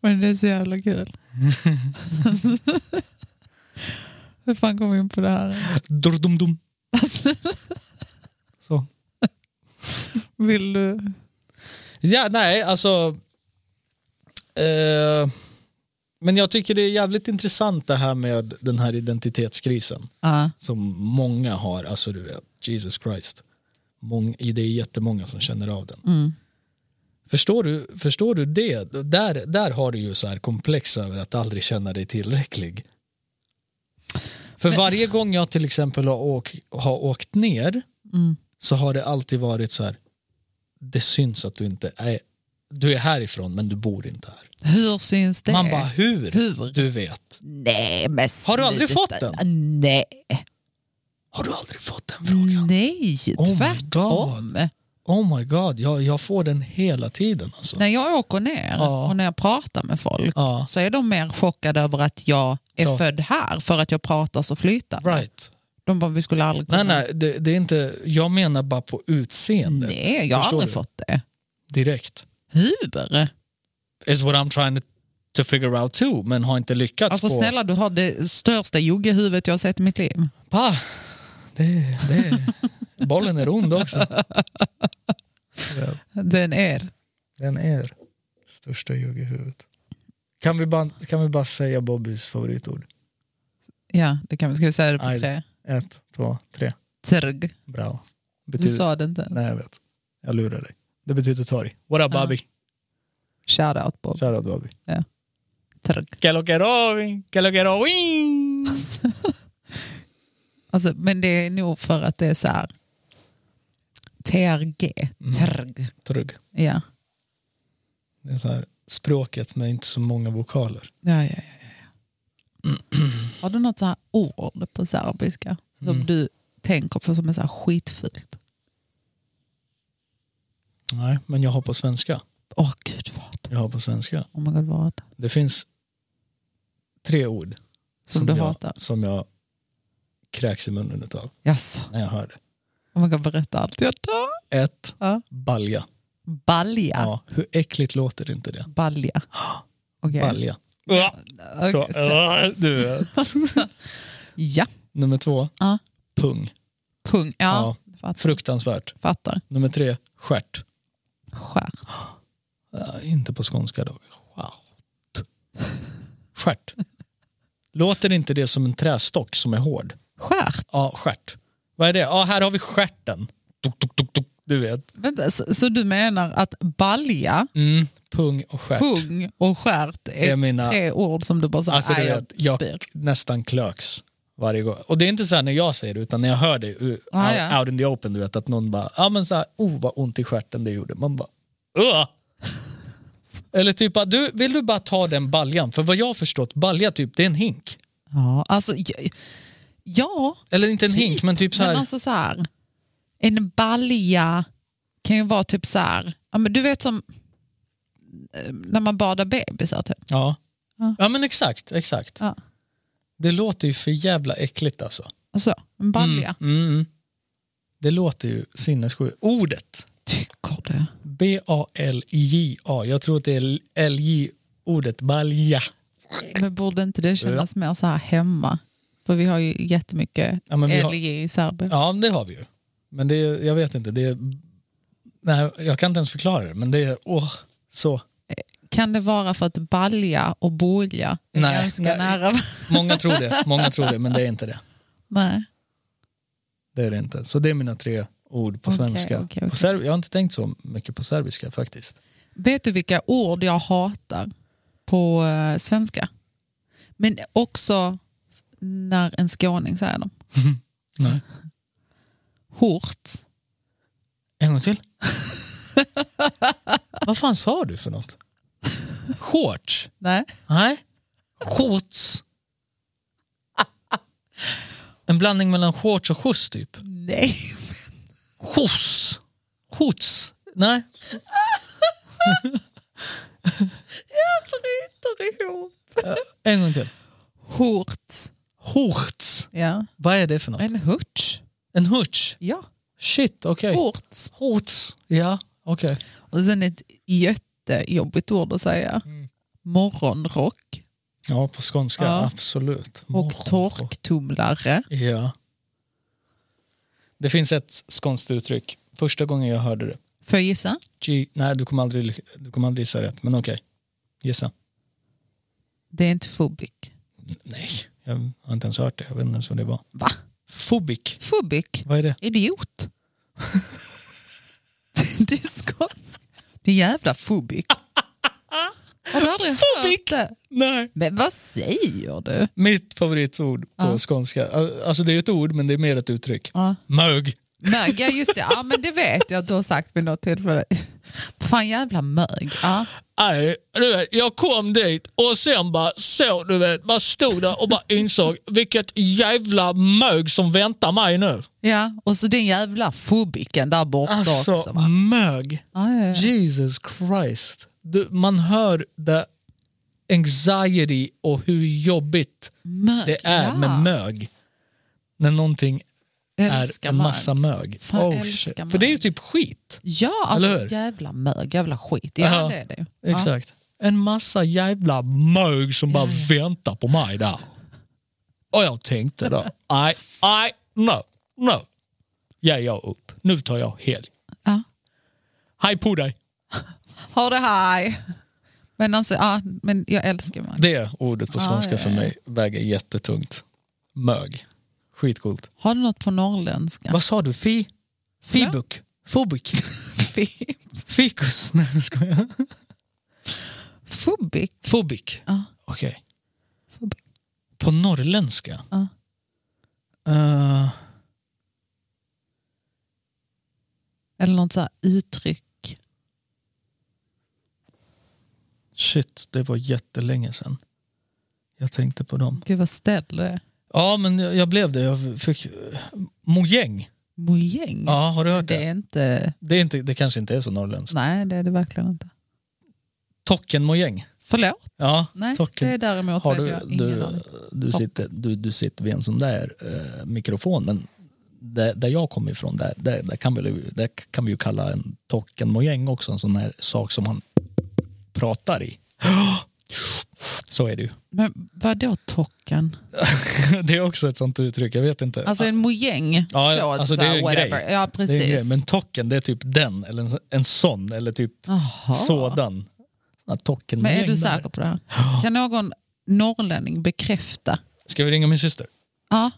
[SPEAKER 2] Men det är så jävla kul. Hur fan kom vi in på det här?
[SPEAKER 1] Durdumdum.
[SPEAKER 2] Alltså,
[SPEAKER 1] Så.
[SPEAKER 2] vill du?
[SPEAKER 1] Ja, nej, alltså... Eh, men jag tycker det är jävligt intressant det här med den här identitetskrisen.
[SPEAKER 2] Ja.
[SPEAKER 1] som många har, alltså du vet, Jesus Christ. Mång, det är jättemånga som känner av den.
[SPEAKER 2] Mm.
[SPEAKER 1] Förstår du, förstår du det? Där, där har du ju så här komplex över att aldrig känna dig tillräcklig. För varje gång jag till exempel har, åk, har åkt ner
[SPEAKER 2] Mm.
[SPEAKER 1] så har det alltid varit så här, det syns att du inte är, du är härifrån men du bor inte här.
[SPEAKER 2] Hur syns det?
[SPEAKER 1] Man bara hur?
[SPEAKER 2] Hur?
[SPEAKER 1] Du vet.
[SPEAKER 2] Nej, men
[SPEAKER 1] Har du aldrig
[SPEAKER 2] sluta.
[SPEAKER 1] fått den?
[SPEAKER 2] Nej.
[SPEAKER 1] Har du aldrig fått den frågan?
[SPEAKER 2] Nej,
[SPEAKER 1] Oh my
[SPEAKER 2] tvärtom.
[SPEAKER 1] Oh my god, jag, jag får den hela tiden alltså.
[SPEAKER 2] när jag åker ner
[SPEAKER 1] Ja.
[SPEAKER 2] och när jag pratar med folk
[SPEAKER 1] Ja.
[SPEAKER 2] så är de mer chockade över att jag är
[SPEAKER 1] Ja.
[SPEAKER 2] född här för att jag pratar så flytande.
[SPEAKER 1] Right.
[SPEAKER 2] De bara, vi skulle aldrig
[SPEAKER 1] Nej,
[SPEAKER 2] kunna-
[SPEAKER 1] nej, det, det är inte, jag menar bara på utseendet.
[SPEAKER 2] nej jag har
[SPEAKER 1] Förstår
[SPEAKER 2] aldrig
[SPEAKER 1] du?
[SPEAKER 2] fått det.
[SPEAKER 1] Direkt.
[SPEAKER 2] Hur?
[SPEAKER 1] Is what I'm trying to, to figure out too, men har inte lyckats
[SPEAKER 2] Alltså
[SPEAKER 1] på...
[SPEAKER 2] snälla, du har det största juggehuvudet jag har sett i mitt liv.
[SPEAKER 1] Pa, det, det, bollen är rund också.
[SPEAKER 2] Den är.
[SPEAKER 1] Den är största ljug i huvudet. Kan vi, bara, kan vi bara säga Bobbys favoritord?
[SPEAKER 2] Ja, det kan vi. Ska vi säga det på
[SPEAKER 1] Aj.
[SPEAKER 2] tre?
[SPEAKER 1] Ett, två, tre.
[SPEAKER 2] Terg.
[SPEAKER 1] Bra.
[SPEAKER 2] Du
[SPEAKER 1] Betyder,
[SPEAKER 2] sa det inte.
[SPEAKER 1] Nej, jag vet. Jag lurar dig. Det betyder torg. What up,
[SPEAKER 2] Ja.
[SPEAKER 1] Bobby?
[SPEAKER 2] Shoutout Bob.
[SPEAKER 1] Shoutout, Bobby.
[SPEAKER 2] Terg.
[SPEAKER 1] Que lo quiero, que lo quiero, wing.
[SPEAKER 2] Alltså, men det är nog för att det är så här. TRG.
[SPEAKER 1] Mm.
[SPEAKER 2] Terg.
[SPEAKER 1] Trugg.
[SPEAKER 2] Ja.
[SPEAKER 1] Det är så här, språket med inte så många vokaler.
[SPEAKER 2] Ja, ja, ja, ja. Har du något så här ord på serbiska som
[SPEAKER 1] Mm.
[SPEAKER 2] du tänker på som är så här skitfult?
[SPEAKER 1] Nej, men jag har på svenska.
[SPEAKER 2] Åh gud vad.
[SPEAKER 1] Jag har på svenska.
[SPEAKER 2] Oh my god vad.
[SPEAKER 1] Det finns tre ord
[SPEAKER 2] Som, du
[SPEAKER 1] jag,
[SPEAKER 2] hatar.
[SPEAKER 1] som jag kräks i munnen utav
[SPEAKER 2] Jaså?
[SPEAKER 1] när jag hör det.
[SPEAKER 2] Oh my god berätta allt. Jag dör.
[SPEAKER 1] Ett,
[SPEAKER 2] Ja.
[SPEAKER 1] balja.
[SPEAKER 2] Balja.
[SPEAKER 1] Ja, hur äckligt låter inte det?
[SPEAKER 2] Balja. Okej.
[SPEAKER 1] Balja. Så,
[SPEAKER 2] Okej, så-
[SPEAKER 1] äh, du vet.
[SPEAKER 2] Ja,
[SPEAKER 1] Nummer två,
[SPEAKER 2] Ja.
[SPEAKER 1] pung.
[SPEAKER 2] pung. Ja, fattar.
[SPEAKER 1] Fruktansvärt.
[SPEAKER 2] fattar.
[SPEAKER 1] Nummer tre, stjärt.
[SPEAKER 2] Skärt.
[SPEAKER 1] Ja, inte på skånska dock. Stjärt. Stjärt. Låter inte det som en trästock som är hård?
[SPEAKER 2] Skärt?
[SPEAKER 1] Ja, stjärt. Vad är det? Ja, här har vi stjärten. Tuk, tuk, tuk, tuk, du vet.
[SPEAKER 2] Vänta, så, så du menar att balja,
[SPEAKER 1] Mm, pung och stjärt.
[SPEAKER 2] pung och skärt är
[SPEAKER 1] är mina-
[SPEAKER 2] tre ord som du bara säger,
[SPEAKER 1] Alltså, du
[SPEAKER 2] "Aj, jag
[SPEAKER 1] vet, jag
[SPEAKER 2] spyr.
[SPEAKER 1] nästan klöks varje gång. Och det är inte så här när jag säger det, utan när jag hör det uh,
[SPEAKER 2] Ah,
[SPEAKER 1] out,
[SPEAKER 2] ja.
[SPEAKER 1] out in the open, du vet, att någon bara, ja men så här, oh vad ont i stjärten det gjorde. Man bara, Ugh! Eller typ, bara, du, vill du bara ta den baljan? För vad jag har förstått, balja typ, det är en hink.
[SPEAKER 2] Ja, alltså, jag, ja,
[SPEAKER 1] Eller inte en
[SPEAKER 2] Typ,
[SPEAKER 1] hink, men typ så här,
[SPEAKER 2] men alltså så här, en balja kan ju vara typ så här, ja, men du vet som eh, när man badar bebisar typ.
[SPEAKER 1] ja.
[SPEAKER 2] Ja.
[SPEAKER 1] Ja men exakt, exakt.
[SPEAKER 2] Ja.
[SPEAKER 1] Det låter ju för jävla äckligt alltså.
[SPEAKER 2] Alltså, en balja.
[SPEAKER 1] Mm, mm. Det låter ju sinnessjukt. Ordet,
[SPEAKER 2] Tycker du?
[SPEAKER 1] B-A-L-J-A. Jag tror att det är L-J-ordet, balja.
[SPEAKER 2] Men borde inte det kännas mer så här hemma? För vi har ju jättemycket
[SPEAKER 1] Ja, men vi har-
[SPEAKER 2] LJ i Serbien.
[SPEAKER 1] Ja, det har vi ju. Men det är, jag vet inte, det är, nej, jag kan inte ens förklara det. Men det är, åh, så.
[SPEAKER 2] Kan det vara för att balja och bolja är
[SPEAKER 1] Nej,
[SPEAKER 2] ganska
[SPEAKER 1] nej.
[SPEAKER 2] nära varandra?
[SPEAKER 1] Många tror det, många tror det, men det är inte det.
[SPEAKER 2] Nej.
[SPEAKER 1] Det är det inte. Så det är mina tre ord på
[SPEAKER 2] Okej,
[SPEAKER 1] svenska.
[SPEAKER 2] okej, okej.
[SPEAKER 1] På serb- jag har inte tänkt så mycket på serbiska faktiskt.
[SPEAKER 2] Vet du vilka ord jag hatar på eh, svenska? Men också när en skåning säger dem.
[SPEAKER 1] Nej.
[SPEAKER 2] Hort.
[SPEAKER 1] En gång till. Vad fan sa du för något? Shorts?
[SPEAKER 2] Nej.
[SPEAKER 1] Nej. Shorts. En blandning mellan shorts och skjuts typ.
[SPEAKER 2] Nej.
[SPEAKER 1] Skjuts. Skjuts. Nej.
[SPEAKER 2] Jag bryter ihop.
[SPEAKER 1] En gång till.
[SPEAKER 2] Hort.
[SPEAKER 1] Horts.
[SPEAKER 2] Ja.
[SPEAKER 1] Vad är det för något?
[SPEAKER 2] En hurts.
[SPEAKER 1] En hurts?
[SPEAKER 2] Ja.
[SPEAKER 1] Shit, okej.
[SPEAKER 2] Hort.
[SPEAKER 1] Horts. Ja, okej.
[SPEAKER 2] Och sen ett jättejobbigt ord att säga.
[SPEAKER 1] Mm.
[SPEAKER 2] Morgonrock
[SPEAKER 1] Ja, på skånska.
[SPEAKER 2] Ja.
[SPEAKER 1] Absolut.
[SPEAKER 2] och
[SPEAKER 1] Morgonrock.
[SPEAKER 2] torktumlare.
[SPEAKER 1] Ja. Det finns ett skånskt uttryck. Första gången jag hörde det.
[SPEAKER 2] Får jag gissa?
[SPEAKER 1] G- Nej, du kommer aldrig, du kommer aldrig gissa rätt, men okej. Gissa.
[SPEAKER 2] Det är inte fobik.
[SPEAKER 1] Nej, jag har inte ens hört det. Jag vet inte ens vad det var.
[SPEAKER 2] Va?
[SPEAKER 1] Fobik.
[SPEAKER 2] Fobik?
[SPEAKER 1] Vad är det?
[SPEAKER 2] Idiot. det är skotsk. Det är jävla fobik. Har du aldrig hört
[SPEAKER 1] Fobik?
[SPEAKER 2] det?
[SPEAKER 1] Nej.
[SPEAKER 2] Men vad säger du?
[SPEAKER 1] Mitt favoritord på
[SPEAKER 2] Ja.
[SPEAKER 1] skånska. Alltså det är ett ord, men det är mer ett uttryck.
[SPEAKER 2] Ja.
[SPEAKER 1] Mög.
[SPEAKER 2] Mög, ja just det. Ja, men det vet jag att du har sagt vid något tillfälle. Fan jävla mög. Ja.
[SPEAKER 1] Nej, du vet, jag kom dit och sen bara så, du vet, bara stod där och bara insåg vilket jävla mög som väntar mig nu.
[SPEAKER 2] ja. Och så den jävla fobiken där borta också.
[SPEAKER 1] Alltså,
[SPEAKER 2] Va?
[SPEAKER 1] mög.
[SPEAKER 2] Ja, ja, ja.
[SPEAKER 1] Jesus Christ. Du, man hör the anxiety och hur jobbigt
[SPEAKER 2] Mög,
[SPEAKER 1] det är
[SPEAKER 2] ja.
[SPEAKER 1] med mög. När någonting är
[SPEAKER 2] Älskar
[SPEAKER 1] en
[SPEAKER 2] mög.
[SPEAKER 1] massa mög.
[SPEAKER 2] Fan,
[SPEAKER 1] oh,
[SPEAKER 2] älskar
[SPEAKER 1] shit.
[SPEAKER 2] mög.
[SPEAKER 1] För det är ju typ skit.
[SPEAKER 2] Ja, alltså
[SPEAKER 1] Eller hur?
[SPEAKER 2] jävla mög, jävla skit. Ja,
[SPEAKER 1] Ja,
[SPEAKER 2] det är det ju. Ja.
[SPEAKER 1] Exakt. En massa jävla mög som bara väntar på mig där. Och jag tänkte då, nej, nej, no, no. Ger jag upp. Nu tar jag helg.
[SPEAKER 2] Ja.
[SPEAKER 1] Hej på dig.
[SPEAKER 2] Ha det haj. Men alltså, ja, men jag älskar mög.
[SPEAKER 1] Det ordet på
[SPEAKER 2] Ja,
[SPEAKER 1] svenska
[SPEAKER 2] Ah, ja,
[SPEAKER 1] för
[SPEAKER 2] ja.
[SPEAKER 1] mig väger jättetungt. Mög. Skitcoolt.
[SPEAKER 2] Har du något på norrländska?
[SPEAKER 1] Vad sa du? Fi? Fibuk? Fobuk? Fikus? Nej, jag skojar.
[SPEAKER 2] Fobik?
[SPEAKER 1] Fobik?
[SPEAKER 2] Ja.
[SPEAKER 1] Okej.
[SPEAKER 2] Fobik.
[SPEAKER 1] På norrländska?
[SPEAKER 2] Ja.
[SPEAKER 1] Eh,
[SPEAKER 2] Eller något så här uttryck.
[SPEAKER 1] Shit, det var jättelänge sedan. Jag tänkte på dem.
[SPEAKER 2] Gud vad ställ det är.
[SPEAKER 1] Ja, men jag jag blev det. Jag fick... eh, Mojäng.
[SPEAKER 2] Mojäng?
[SPEAKER 1] Ja, har du hört det?
[SPEAKER 2] Det är inte...
[SPEAKER 1] Det, är inte, det kanske inte är så norrländskt.
[SPEAKER 2] Nej, det är det verkligen inte.
[SPEAKER 1] Tockenmojäng.
[SPEAKER 2] Förlåt?
[SPEAKER 1] Ja,
[SPEAKER 2] Nej,
[SPEAKER 1] tocken.
[SPEAKER 2] det är däremot
[SPEAKER 1] Har
[SPEAKER 2] vet
[SPEAKER 1] du,
[SPEAKER 2] jag ingen
[SPEAKER 1] du,
[SPEAKER 2] aning.
[SPEAKER 1] du, sitter, du, du sitter vid en sån där eh, mikrofon, men där, där jag kommer ifrån, där, där, där, kan vi, där kan vi ju kalla en tockenmojäng också en sån här sak som man pratar i. Så är det ju.
[SPEAKER 2] Men vadå tocken?
[SPEAKER 1] Det är också ett sånt uttryck, jag vet inte.
[SPEAKER 2] Alltså en mojäng?
[SPEAKER 1] Ja,
[SPEAKER 2] så,
[SPEAKER 1] alltså,
[SPEAKER 2] så
[SPEAKER 1] det är
[SPEAKER 2] här,
[SPEAKER 1] ju en
[SPEAKER 2] whatever.
[SPEAKER 1] grej.
[SPEAKER 2] Ja,
[SPEAKER 1] Det är en
[SPEAKER 2] precis.
[SPEAKER 1] grej, men tocken, det är typ den, eller en, en sån, eller typ
[SPEAKER 2] Aha.
[SPEAKER 1] sådan. Såna tockenmojäng
[SPEAKER 2] Men är du
[SPEAKER 1] där.
[SPEAKER 2] säker på det här? Kan någon norrlänning bekräfta.
[SPEAKER 1] Ska vi ringa min syster?
[SPEAKER 2] Ja,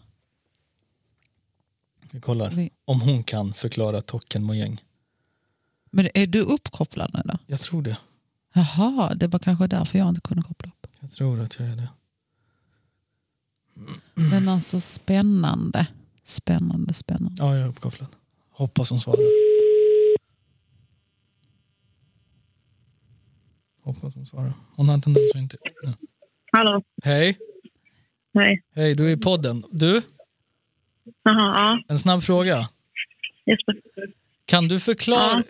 [SPEAKER 1] Vi kollar
[SPEAKER 2] Vi-
[SPEAKER 1] om hon kan förklara Tockenmojäng.
[SPEAKER 2] men är du uppkopplad nu då?
[SPEAKER 1] Jag tror det.
[SPEAKER 2] Jaha, det var kanske därför jag inte kunde koppla upp.
[SPEAKER 1] Jag tror att jag är det.
[SPEAKER 2] Men alltså spännande. Spännande, spännande.
[SPEAKER 1] Ja, jag är uppkopplad. Hoppas hon svarar. Hoppas hon svarar. Hon har en tendens att inte... Ja.
[SPEAKER 3] Hallå,
[SPEAKER 1] Hej!
[SPEAKER 3] hej.
[SPEAKER 1] Hej, du är i podden. Du,
[SPEAKER 3] Jaha, ja.
[SPEAKER 1] en snabb fråga.
[SPEAKER 3] Jesper.
[SPEAKER 1] Kan du förklara...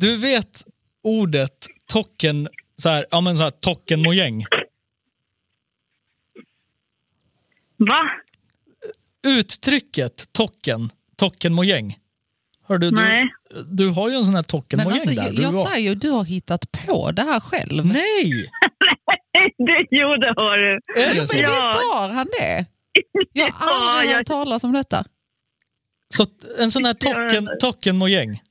[SPEAKER 1] Du vet ordet tocken... Så här, ja men så här, tockenmojäng.
[SPEAKER 3] Va?
[SPEAKER 1] Uttrycket tocken, tockenmojäng. Hör du, du,
[SPEAKER 3] Nej.
[SPEAKER 1] du har ju en sån här
[SPEAKER 2] Men
[SPEAKER 1] tockenmojäng
[SPEAKER 2] alltså,
[SPEAKER 1] där.
[SPEAKER 2] jag,
[SPEAKER 1] Du
[SPEAKER 2] jag
[SPEAKER 1] var-
[SPEAKER 2] säger ju, du har hittat på det här själv.
[SPEAKER 1] Nej!
[SPEAKER 3] Det gjorde har du.
[SPEAKER 1] Är det så?
[SPEAKER 3] Ja.
[SPEAKER 2] Visst har han det? Jag har aldrig
[SPEAKER 3] jag-
[SPEAKER 2] hört talas om detta.
[SPEAKER 1] så en sån här tocken, tockenmojäng.
[SPEAKER 2] Nej,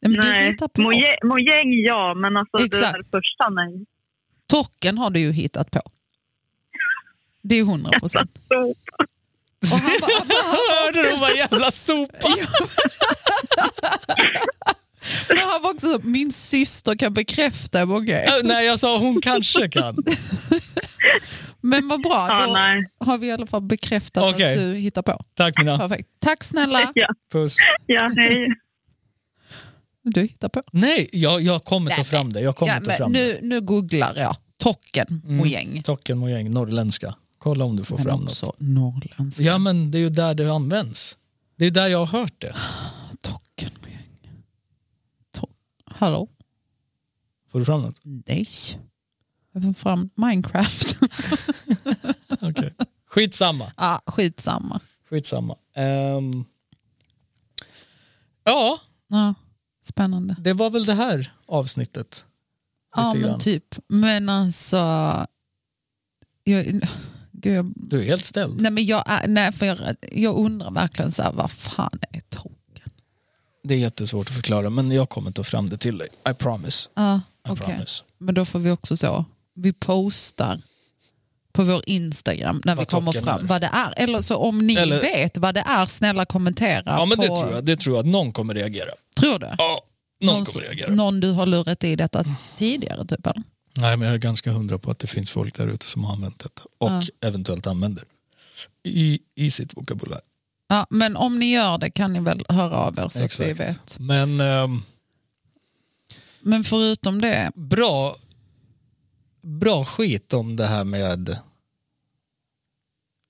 [SPEAKER 2] men du
[SPEAKER 3] Nej.
[SPEAKER 2] hittar på.
[SPEAKER 3] Moje- Mojäng, ja, men alltså
[SPEAKER 2] Exakt.
[SPEAKER 3] det där första, nej.
[SPEAKER 2] Tocken har du ju hittat på. Det är hundra procent. Och han bara, han bara,
[SPEAKER 1] Hörde du? Hon bara jävla sopa.
[SPEAKER 2] men han var också så, min syster kan bekräfta Mogge.
[SPEAKER 1] Äh, Nej, jag sa hon kanske kan.
[SPEAKER 2] Men vad bra,
[SPEAKER 3] Ja,
[SPEAKER 2] då
[SPEAKER 3] nej.
[SPEAKER 2] har vi i alla fall bekräftat
[SPEAKER 1] Okej.
[SPEAKER 2] att du hittar på.
[SPEAKER 1] Tack mina.
[SPEAKER 2] Perfekt. Tack snälla,
[SPEAKER 3] Ja,
[SPEAKER 1] Puss.
[SPEAKER 3] ja hej.
[SPEAKER 2] du hittar på.
[SPEAKER 1] Nej, jag, jag kommer ta fram det. Jag kommer
[SPEAKER 2] Ja,
[SPEAKER 1] ta
[SPEAKER 2] men
[SPEAKER 1] fram det.
[SPEAKER 2] nu, nu googlar jag Tocken och gäng.
[SPEAKER 1] Tockenmojäng, norrländska. Kolla om du får
[SPEAKER 2] Men
[SPEAKER 1] fram något.
[SPEAKER 2] också norrländska
[SPEAKER 1] Ja, men det är ju där det används. Det är där jag har hört det.
[SPEAKER 2] Tocken och gäng. To- Hallå?
[SPEAKER 1] Får du fram något?
[SPEAKER 2] Nej. Jag får fram Minecraft.
[SPEAKER 1] Okej. Skitsamma.
[SPEAKER 2] ah, skitsamma.
[SPEAKER 1] Skitsamma. Ehm. ja,
[SPEAKER 2] Ja, spännande.
[SPEAKER 1] det var väl det här avsnittet.
[SPEAKER 2] Ja,
[SPEAKER 1] Lite
[SPEAKER 2] men
[SPEAKER 1] grann.
[SPEAKER 2] typ. Men alltså... Jag, gud, jag,
[SPEAKER 1] Du är helt ställd.
[SPEAKER 2] nej, men jag, är- nej, för jag, jag undrar verkligen så här, vad fan är token?
[SPEAKER 1] Det är jättesvårt att förklara, men jag kommer ta fram det till dig. I promise.
[SPEAKER 2] Ja,
[SPEAKER 1] I
[SPEAKER 2] okej.
[SPEAKER 1] promise.
[SPEAKER 2] Men då får vi också så, vi postar på vår Instagram när vi
[SPEAKER 1] Vad
[SPEAKER 2] kommer
[SPEAKER 1] token
[SPEAKER 2] fram
[SPEAKER 1] är.
[SPEAKER 2] vad det är. Eller så om ni
[SPEAKER 1] Eller-
[SPEAKER 2] vet vad det är, snälla kommentera.
[SPEAKER 1] Ja, men
[SPEAKER 2] på,
[SPEAKER 1] det tror jag. Det tror jag att någon kommer reagera.
[SPEAKER 2] Tror du?
[SPEAKER 1] Ja, någon,
[SPEAKER 2] Någon-
[SPEAKER 1] kommer reagera.
[SPEAKER 2] Någon du har lurat i detta tidigare typ? Eller?
[SPEAKER 1] Nej, men jag är ganska hundra på att det finns folk där ute som har använt detta och
[SPEAKER 2] Ja.
[SPEAKER 1] eventuellt använder i, i sitt vokabulär.
[SPEAKER 2] Ja, men om ni gör det kan ni väl höra av er så att vi
[SPEAKER 1] Exakt.
[SPEAKER 2] vet.
[SPEAKER 1] Men ehm,
[SPEAKER 2] Men förutom det,
[SPEAKER 1] bra, bra skit om det här med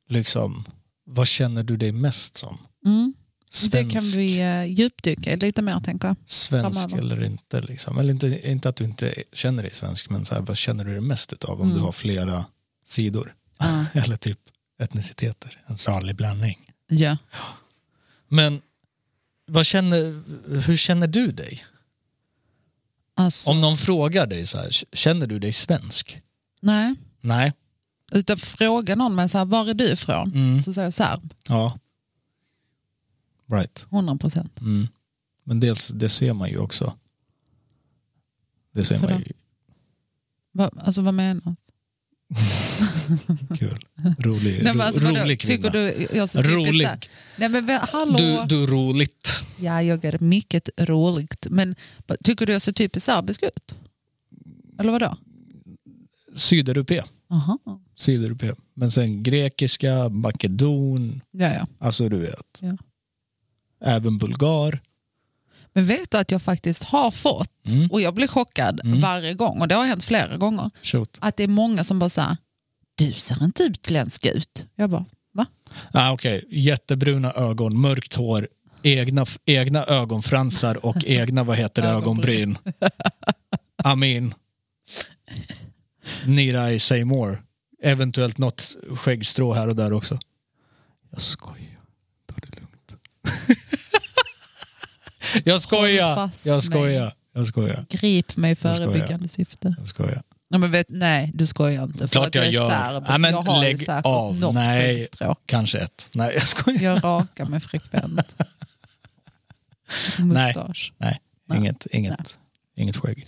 [SPEAKER 1] liksom, vad känner du dig mest som?
[SPEAKER 2] mm,
[SPEAKER 1] Svensk,
[SPEAKER 2] det kan vi eh, djupdyka i lite mer tänker jag.
[SPEAKER 1] svensk
[SPEAKER 2] framöver.
[SPEAKER 1] eller inte? Liksom. Eller inte, inte att du inte känner dig svensk, men så här, vad känner du dig mest utav om
[SPEAKER 2] Mm.
[SPEAKER 1] du har flera sidor?
[SPEAKER 2] Ja.
[SPEAKER 1] Eller typ etniciteter, en salig blandning.
[SPEAKER 2] Ja.
[SPEAKER 1] Men vad känner, hur känner du dig?
[SPEAKER 2] Alltså,
[SPEAKER 1] Om någon frågar dig så här, känner du dig svensk?
[SPEAKER 2] Nej.
[SPEAKER 1] Nej.
[SPEAKER 2] Utan fråga någon mig så här, var är du ifrån?
[SPEAKER 1] Mm.
[SPEAKER 2] Så säger jag serb,
[SPEAKER 1] Ja. Right.
[SPEAKER 2] 100 procent.
[SPEAKER 1] Mm. Men dels, det ser man ju också. Det ser
[SPEAKER 2] Varför
[SPEAKER 1] man ju.
[SPEAKER 2] Va, alltså vad menas?
[SPEAKER 1] Kul. Rolig,
[SPEAKER 2] Nej, men alltså, vadå?
[SPEAKER 1] rolig
[SPEAKER 2] Tycker
[SPEAKER 1] kvinna. Du,
[SPEAKER 2] du jag ser typiskt
[SPEAKER 1] Rolig.
[SPEAKER 2] så här- Nej men vä- hallå.
[SPEAKER 1] du, är roligt.
[SPEAKER 2] Ja, jag är mycket roligt. Men vad- tycker du jag ser typiskt serbisk ut? Eller vadå?
[SPEAKER 1] Sydeuropé.
[SPEAKER 2] Aha.
[SPEAKER 1] Sydeuropé. Men sen grekiska, makedon,
[SPEAKER 2] Ja, ja.
[SPEAKER 1] alltså du vet.
[SPEAKER 2] Ja.
[SPEAKER 1] Även bulgar.
[SPEAKER 2] Men vet du att jag faktiskt har fått,
[SPEAKER 1] Mm.
[SPEAKER 2] och jag blir chockad varje gång, och det har hänt flera gånger,
[SPEAKER 1] Shoot.
[SPEAKER 2] att det är många som bara säger du ser inte utländsk ut. Jag bara, va?
[SPEAKER 1] Ah, Okej, jättebruna ögon, mörkt hår, egna, egna ögonfransar och egna vad heter det, ögonbryn. Amin. Niraj say more. Eventuellt något skäggstrå här och där också. Jag skojar. Ta det lugnt. jag skojar.
[SPEAKER 2] fast mig.
[SPEAKER 1] Jag skojar. Jag skojar.
[SPEAKER 2] Grip mig i
[SPEAKER 1] Jag skojar.
[SPEAKER 2] förebyggande syfte.
[SPEAKER 1] Jag skojar.
[SPEAKER 2] Nej, men vet, nej, du skojar inte.
[SPEAKER 1] Klart
[SPEAKER 2] att jag
[SPEAKER 1] jag
[SPEAKER 2] är
[SPEAKER 1] gör.
[SPEAKER 2] serb.
[SPEAKER 1] Ja, men
[SPEAKER 2] jag har ju
[SPEAKER 1] lägg
[SPEAKER 2] säkert
[SPEAKER 1] av.
[SPEAKER 2] något
[SPEAKER 1] Nej.
[SPEAKER 2] skäggstrå.
[SPEAKER 1] Kanske ett. Nej, jag skojar.
[SPEAKER 2] Jag rakar mig frekvent. Mustasch.
[SPEAKER 1] Nej,
[SPEAKER 2] Nej.
[SPEAKER 1] inget, inget, inget skägg.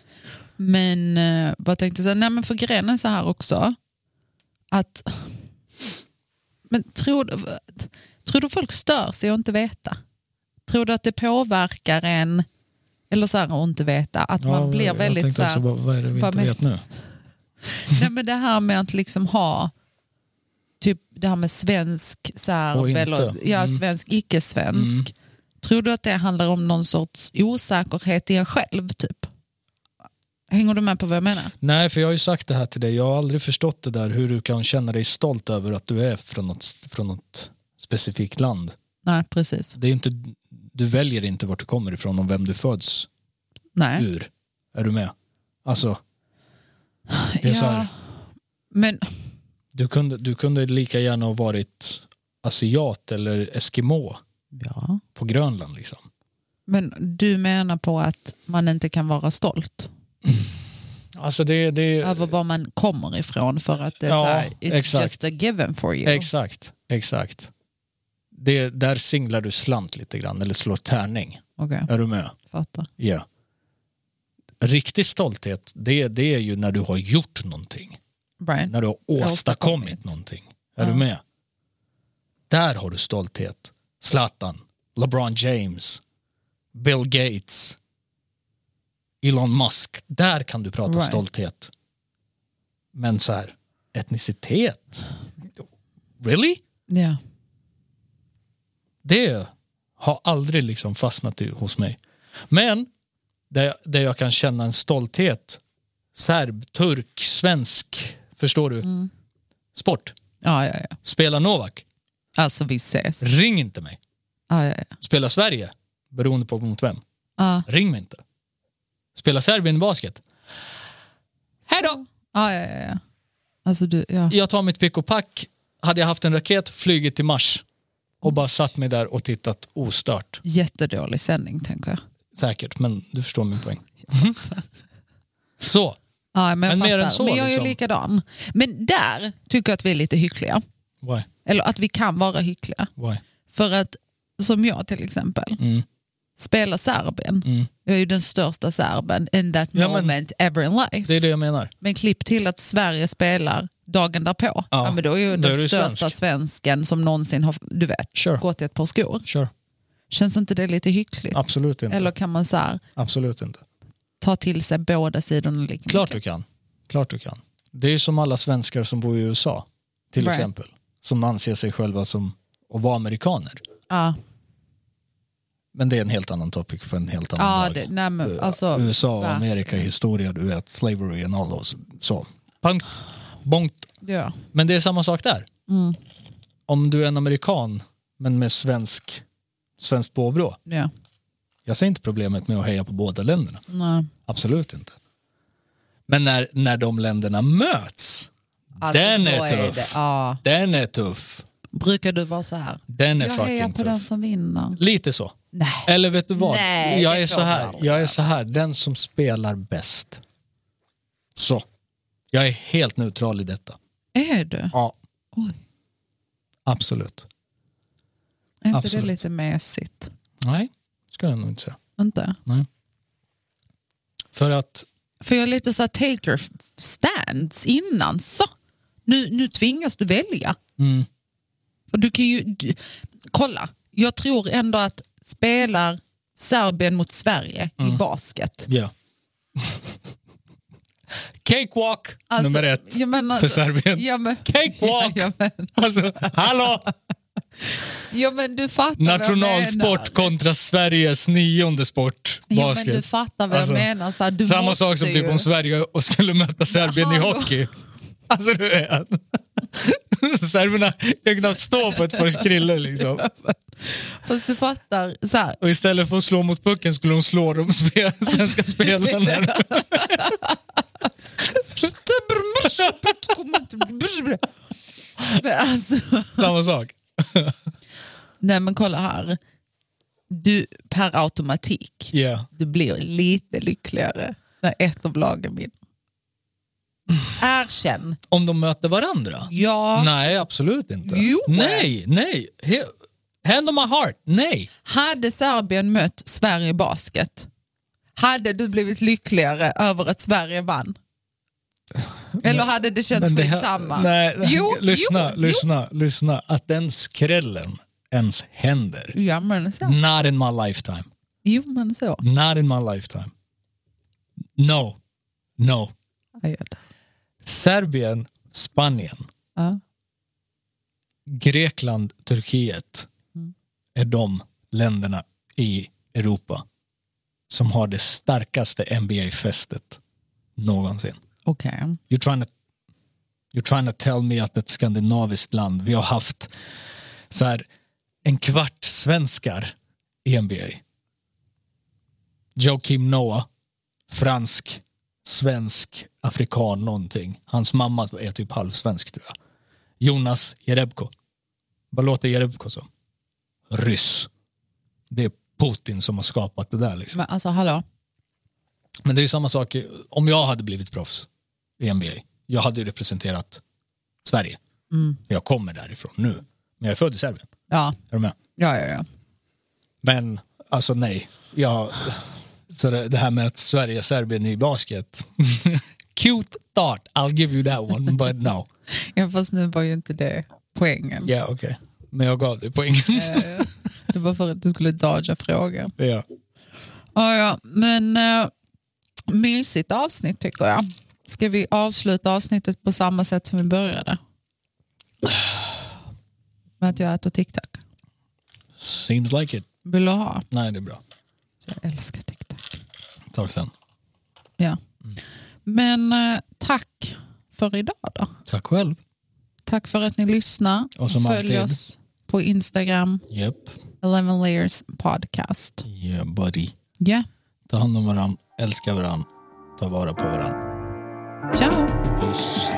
[SPEAKER 2] Men eh, vad tänkte jag säga? Nej men för grejen är så här också. att... Men tror, du- tror du folk stör sig att inte veta? Tror du att det påverkar en, eller så här att inte veta, att man blir
[SPEAKER 1] jag
[SPEAKER 2] väldigt
[SPEAKER 1] tänkte
[SPEAKER 2] så här,
[SPEAKER 1] också, bara, vad är det vi
[SPEAKER 2] vad
[SPEAKER 1] inte
[SPEAKER 2] men-
[SPEAKER 1] vet nu?
[SPEAKER 2] Nej men det här med att liksom ha typ det här med svensk
[SPEAKER 1] Och
[SPEAKER 2] serb
[SPEAKER 1] inte.
[SPEAKER 2] eller ja,
[SPEAKER 1] Mm.
[SPEAKER 2] svensk, icke-svensk. Tror du att det handlar om någon sorts osäkerhet i en själv typ? Hänger du med på vad jag menar?
[SPEAKER 1] Nej, för jag har ju sagt det här till dig. Jag har aldrig förstått det där hur du kan känna dig stolt över att du är från något, från något specifikt land.
[SPEAKER 2] Nej, precis.
[SPEAKER 1] Det är ju inte, du väljer inte vart du kommer ifrån och vem du föds
[SPEAKER 2] Nej.
[SPEAKER 1] ur. Är du med? Alltså, det är så
[SPEAKER 2] Ja.
[SPEAKER 1] här.
[SPEAKER 2] Men
[SPEAKER 1] du, kunde, du kunde lika gärna ha varit asiat eller eskimo
[SPEAKER 2] Ja.
[SPEAKER 1] på Grönland. Liksom.
[SPEAKER 2] Men du menar på att man inte kan vara stolt
[SPEAKER 1] Alltså det, det,
[SPEAKER 2] över var man kommer ifrån för att det är
[SPEAKER 1] Ja,
[SPEAKER 2] så här, it's
[SPEAKER 1] exakt.
[SPEAKER 2] just a given for you.
[SPEAKER 1] Exakt, exakt. Det, där singlar du slant lite grann, eller slår tärning.
[SPEAKER 2] Okej,
[SPEAKER 1] Är du med?
[SPEAKER 2] fattar.
[SPEAKER 1] Ja. Riktig stolthet, det, det är ju när du har gjort någonting.
[SPEAKER 2] Brian?
[SPEAKER 1] När du har åstadkommit
[SPEAKER 2] Åstadkommit.
[SPEAKER 1] någonting. Är du med? Där har du stolthet. Zlatan, LeBron James, Bill Gates, Elon Musk. Där kan du prata
[SPEAKER 2] Right.
[SPEAKER 1] stolthet. Men så här, etnicitet? Really?
[SPEAKER 2] Ja.
[SPEAKER 1] Det har aldrig liksom fastnat i, hos mig. Men där jag, där jag kan känna en stolthet, serb, turk, svensk, förstår du? Sport,
[SPEAKER 2] Ja, ja, ja.
[SPEAKER 1] spela Novak,
[SPEAKER 2] Alltså vi ses.
[SPEAKER 1] ring inte mig.
[SPEAKER 2] Ja, ja, ja.
[SPEAKER 1] Spela Sverige, beroende på mot vem,
[SPEAKER 2] Ja,
[SPEAKER 1] ring mig inte. Spela Serbien basket, hej då!
[SPEAKER 2] ja, ja, ja, ja. Alltså du, ja.
[SPEAKER 1] Jag tar mitt pick och pack, hade jag haft en raket, flugit till Mars och bara satt mig där och tittat ostört.
[SPEAKER 2] Jättedålig sändning tänker jag.
[SPEAKER 1] Säkert, men du förstår min poäng. Så,
[SPEAKER 2] Ja, men jag
[SPEAKER 1] Men mer
[SPEAKER 2] fattar.
[SPEAKER 1] än så,
[SPEAKER 2] men jag är
[SPEAKER 1] liksom.
[SPEAKER 2] ju likadan. Men där tycker jag att vi är lite hyckliga.
[SPEAKER 1] why?
[SPEAKER 2] Eller att vi kan vara hyckliga.
[SPEAKER 1] Why?
[SPEAKER 2] För att, som jag till exempel,
[SPEAKER 1] Mm.
[SPEAKER 2] spelar serben.
[SPEAKER 1] Mm.
[SPEAKER 2] Jag är ju den största serben in that
[SPEAKER 1] Ja, men-
[SPEAKER 2] moment ever in life.
[SPEAKER 1] Det är det jag menar.
[SPEAKER 2] Men klipp till att Sverige spelar dagen därpå. Ja, men då är ju
[SPEAKER 1] då är
[SPEAKER 2] den
[SPEAKER 1] du
[SPEAKER 2] största
[SPEAKER 1] svensk.
[SPEAKER 2] svensken som någonsin har du vet,
[SPEAKER 1] Sure.
[SPEAKER 2] gått i ett par skor.
[SPEAKER 1] Kör.
[SPEAKER 2] Känns inte det lite hyckligt?
[SPEAKER 1] Absolut inte.
[SPEAKER 2] Eller kan man så här,
[SPEAKER 1] Absolut inte.
[SPEAKER 2] ta till sig båda sidorna liksom. lika
[SPEAKER 1] Klart
[SPEAKER 2] mycket?
[SPEAKER 1] du kan. Klart du kan. Det är ju som alla svenskar som bor i USA, till
[SPEAKER 2] Right.
[SPEAKER 1] exempel. Som anser sig själva som att vara amerikaner.
[SPEAKER 2] Ja,
[SPEAKER 1] Men det är en helt annan topic för en helt annan
[SPEAKER 2] ja
[SPEAKER 1] dag.
[SPEAKER 2] det, nej, men, alltså,
[SPEAKER 1] USA och
[SPEAKER 2] va?
[SPEAKER 1] Amerika, historia, du vet, slavery and all those. Så. Punkt. Bonkt.
[SPEAKER 2] ja.
[SPEAKER 1] Men det är samma sak där.
[SPEAKER 2] Mm.
[SPEAKER 1] Om du är en amerikan, men med svensk, svenskt påbrå.
[SPEAKER 2] ja,
[SPEAKER 1] Jag ser inte problemet med att heja på båda länderna.
[SPEAKER 2] nej.
[SPEAKER 1] Absolut inte. Men när, när de länderna möts,
[SPEAKER 2] Alltså,
[SPEAKER 1] Den
[SPEAKER 2] då
[SPEAKER 1] är tuff.
[SPEAKER 2] det- ja.
[SPEAKER 1] den är tuff.
[SPEAKER 2] Brukar du vara så här?
[SPEAKER 1] Den är
[SPEAKER 2] jag hejar
[SPEAKER 1] fucking
[SPEAKER 2] på
[SPEAKER 1] tuff.
[SPEAKER 2] den som vinner.
[SPEAKER 1] Lite så.
[SPEAKER 2] Nej.
[SPEAKER 1] Eller vet du vad?
[SPEAKER 2] Nej,
[SPEAKER 1] jag,
[SPEAKER 2] det
[SPEAKER 1] är
[SPEAKER 2] får
[SPEAKER 1] så
[SPEAKER 2] man
[SPEAKER 1] här.
[SPEAKER 2] aldrig
[SPEAKER 1] jag är så här, den som spelar bäst. Så. Jag är helt neutral i detta.
[SPEAKER 2] Är du?
[SPEAKER 1] Ja,
[SPEAKER 2] Oj,
[SPEAKER 1] absolut.
[SPEAKER 2] är inte
[SPEAKER 1] Absolut.
[SPEAKER 2] det lite mesigt?
[SPEAKER 1] Nej, ska jag nog inte säga.
[SPEAKER 2] Inte?
[SPEAKER 1] För att,
[SPEAKER 2] För jag är lite så här take your stands innan. Så, nu, nu tvingas du välja.
[SPEAKER 1] mm,
[SPEAKER 2] Och du kan ju, du, kolla, jag tror ändå att spelar Serbien mot Sverige
[SPEAKER 1] Mm.
[SPEAKER 2] i basket.
[SPEAKER 1] ja. Cakewalk
[SPEAKER 2] Alltså,
[SPEAKER 1] nummer ett
[SPEAKER 2] jag menar,
[SPEAKER 1] för
[SPEAKER 2] alltså,
[SPEAKER 1] Serbien.
[SPEAKER 2] Ja men,
[SPEAKER 1] Cakewalk!
[SPEAKER 2] ja, men,
[SPEAKER 1] Alltså, hallå!
[SPEAKER 2] ja men du fattar vad jag menar.
[SPEAKER 1] Nationalsport kontra Sveriges nionde sport,
[SPEAKER 2] Ja, men du
[SPEAKER 1] basket.
[SPEAKER 2] fattar vad
[SPEAKER 1] Alltså,
[SPEAKER 2] jag menar. Så här, du
[SPEAKER 1] Samma
[SPEAKER 2] måste
[SPEAKER 1] sak som typ
[SPEAKER 2] ju-
[SPEAKER 1] om Sverige och skulle möta Serbien i
[SPEAKER 2] Jaha, då.
[SPEAKER 1] hockey. Alltså du vet. Serberna kan knappt stå på ett par skrillor liksom.
[SPEAKER 2] Fast du fattar, så här,
[SPEAKER 1] Och istället för att slå mot pucken skulle de slå de spe- svenska spelarna.
[SPEAKER 2] Men alltså,
[SPEAKER 1] Samma sak.
[SPEAKER 2] nej men kolla här. Du per automatik,
[SPEAKER 1] Yeah.
[SPEAKER 2] du blir lite lyckligare när ett av lagen vinner. Erkänn.
[SPEAKER 1] Om de möter varandra?
[SPEAKER 2] Ja,
[SPEAKER 1] Nej, absolut inte.
[SPEAKER 2] Jo.
[SPEAKER 1] Nej, nej. He- Hand on my heart, nej.
[SPEAKER 2] hade Serbien mött Sverige i basket, hade du blivit lyckligare över att Sverige vann? Eller hade det känts
[SPEAKER 1] Men det här-
[SPEAKER 2] skitsamma?
[SPEAKER 1] Nej,
[SPEAKER 2] Jo,
[SPEAKER 1] lyssna,
[SPEAKER 2] jo,
[SPEAKER 1] lyssna, lyssna. Att den skrällen ens händer.
[SPEAKER 2] Ja, men så.
[SPEAKER 1] Not in my lifetime.
[SPEAKER 2] Jo, men så.
[SPEAKER 1] Not in my lifetime. No. No.
[SPEAKER 2] Ja, jag dör.
[SPEAKER 1] Serbien, Spanien,
[SPEAKER 2] Ja.
[SPEAKER 1] Grekland, Turkiet
[SPEAKER 2] Mm.
[SPEAKER 1] är de länderna i Europa som har det starkaste NBA-fästet någonsin.
[SPEAKER 2] Okej.
[SPEAKER 1] You're trying, to, you're trying to tell me att ett skandinaviskt land, vi har haft så här, en kvart svenskar i NBA. Joakim Noah, fransk, svensk, afrikan någonting. Hans mamma är typ halvsvensk tror jag. Jonas Jerebko. Vad låter Jerebko som? Ryss. Det är Putin som har skapat det där. Liksom.
[SPEAKER 2] Men alltså, hallå?
[SPEAKER 1] Men det är ju samma sak i- om jag hade blivit proffs i NBA. Jag hade ju representerat Sverige. Jag kommer därifrån nu. Men jag är född i Serbien.
[SPEAKER 2] Ja,
[SPEAKER 1] Är du med?
[SPEAKER 2] ja, ja. ja.
[SPEAKER 1] Men alltså nej. Jag, så det, det här med att Sverige och Serbien i basket. Cute thought, I'll give you that one, but no.
[SPEAKER 2] ja fast nu var ju inte det poängen.
[SPEAKER 1] Ja, okej. Men jag gav dig poängen.
[SPEAKER 2] Eh, Det var för att du skulle dodga frågan.
[SPEAKER 1] ja.
[SPEAKER 2] Ja, ja. Men uh, mysigt avsnitt tycker jag. Ska vi avsluta avsnittet på samma sätt som vi började? Med att jag äter TikTok.
[SPEAKER 1] Seems like it.
[SPEAKER 2] Vill du ha?
[SPEAKER 1] Nej, det är bra.
[SPEAKER 2] Så jag älskar TikTok.
[SPEAKER 1] Tack sen.
[SPEAKER 2] Ja. Men eh, tack för idag då.
[SPEAKER 1] Tack själv.
[SPEAKER 2] Tack för att ni lyssnar.
[SPEAKER 1] Och som
[SPEAKER 2] Följ
[SPEAKER 1] alltid.
[SPEAKER 2] oss på Instagram,
[SPEAKER 1] Japp.
[SPEAKER 2] 11 layers podcast.
[SPEAKER 1] Yeah, buddy.
[SPEAKER 2] Ja,
[SPEAKER 1] Ta hand om varandra, älska varandra, ta vara på varandra.
[SPEAKER 2] ciao!
[SPEAKER 1] Puss.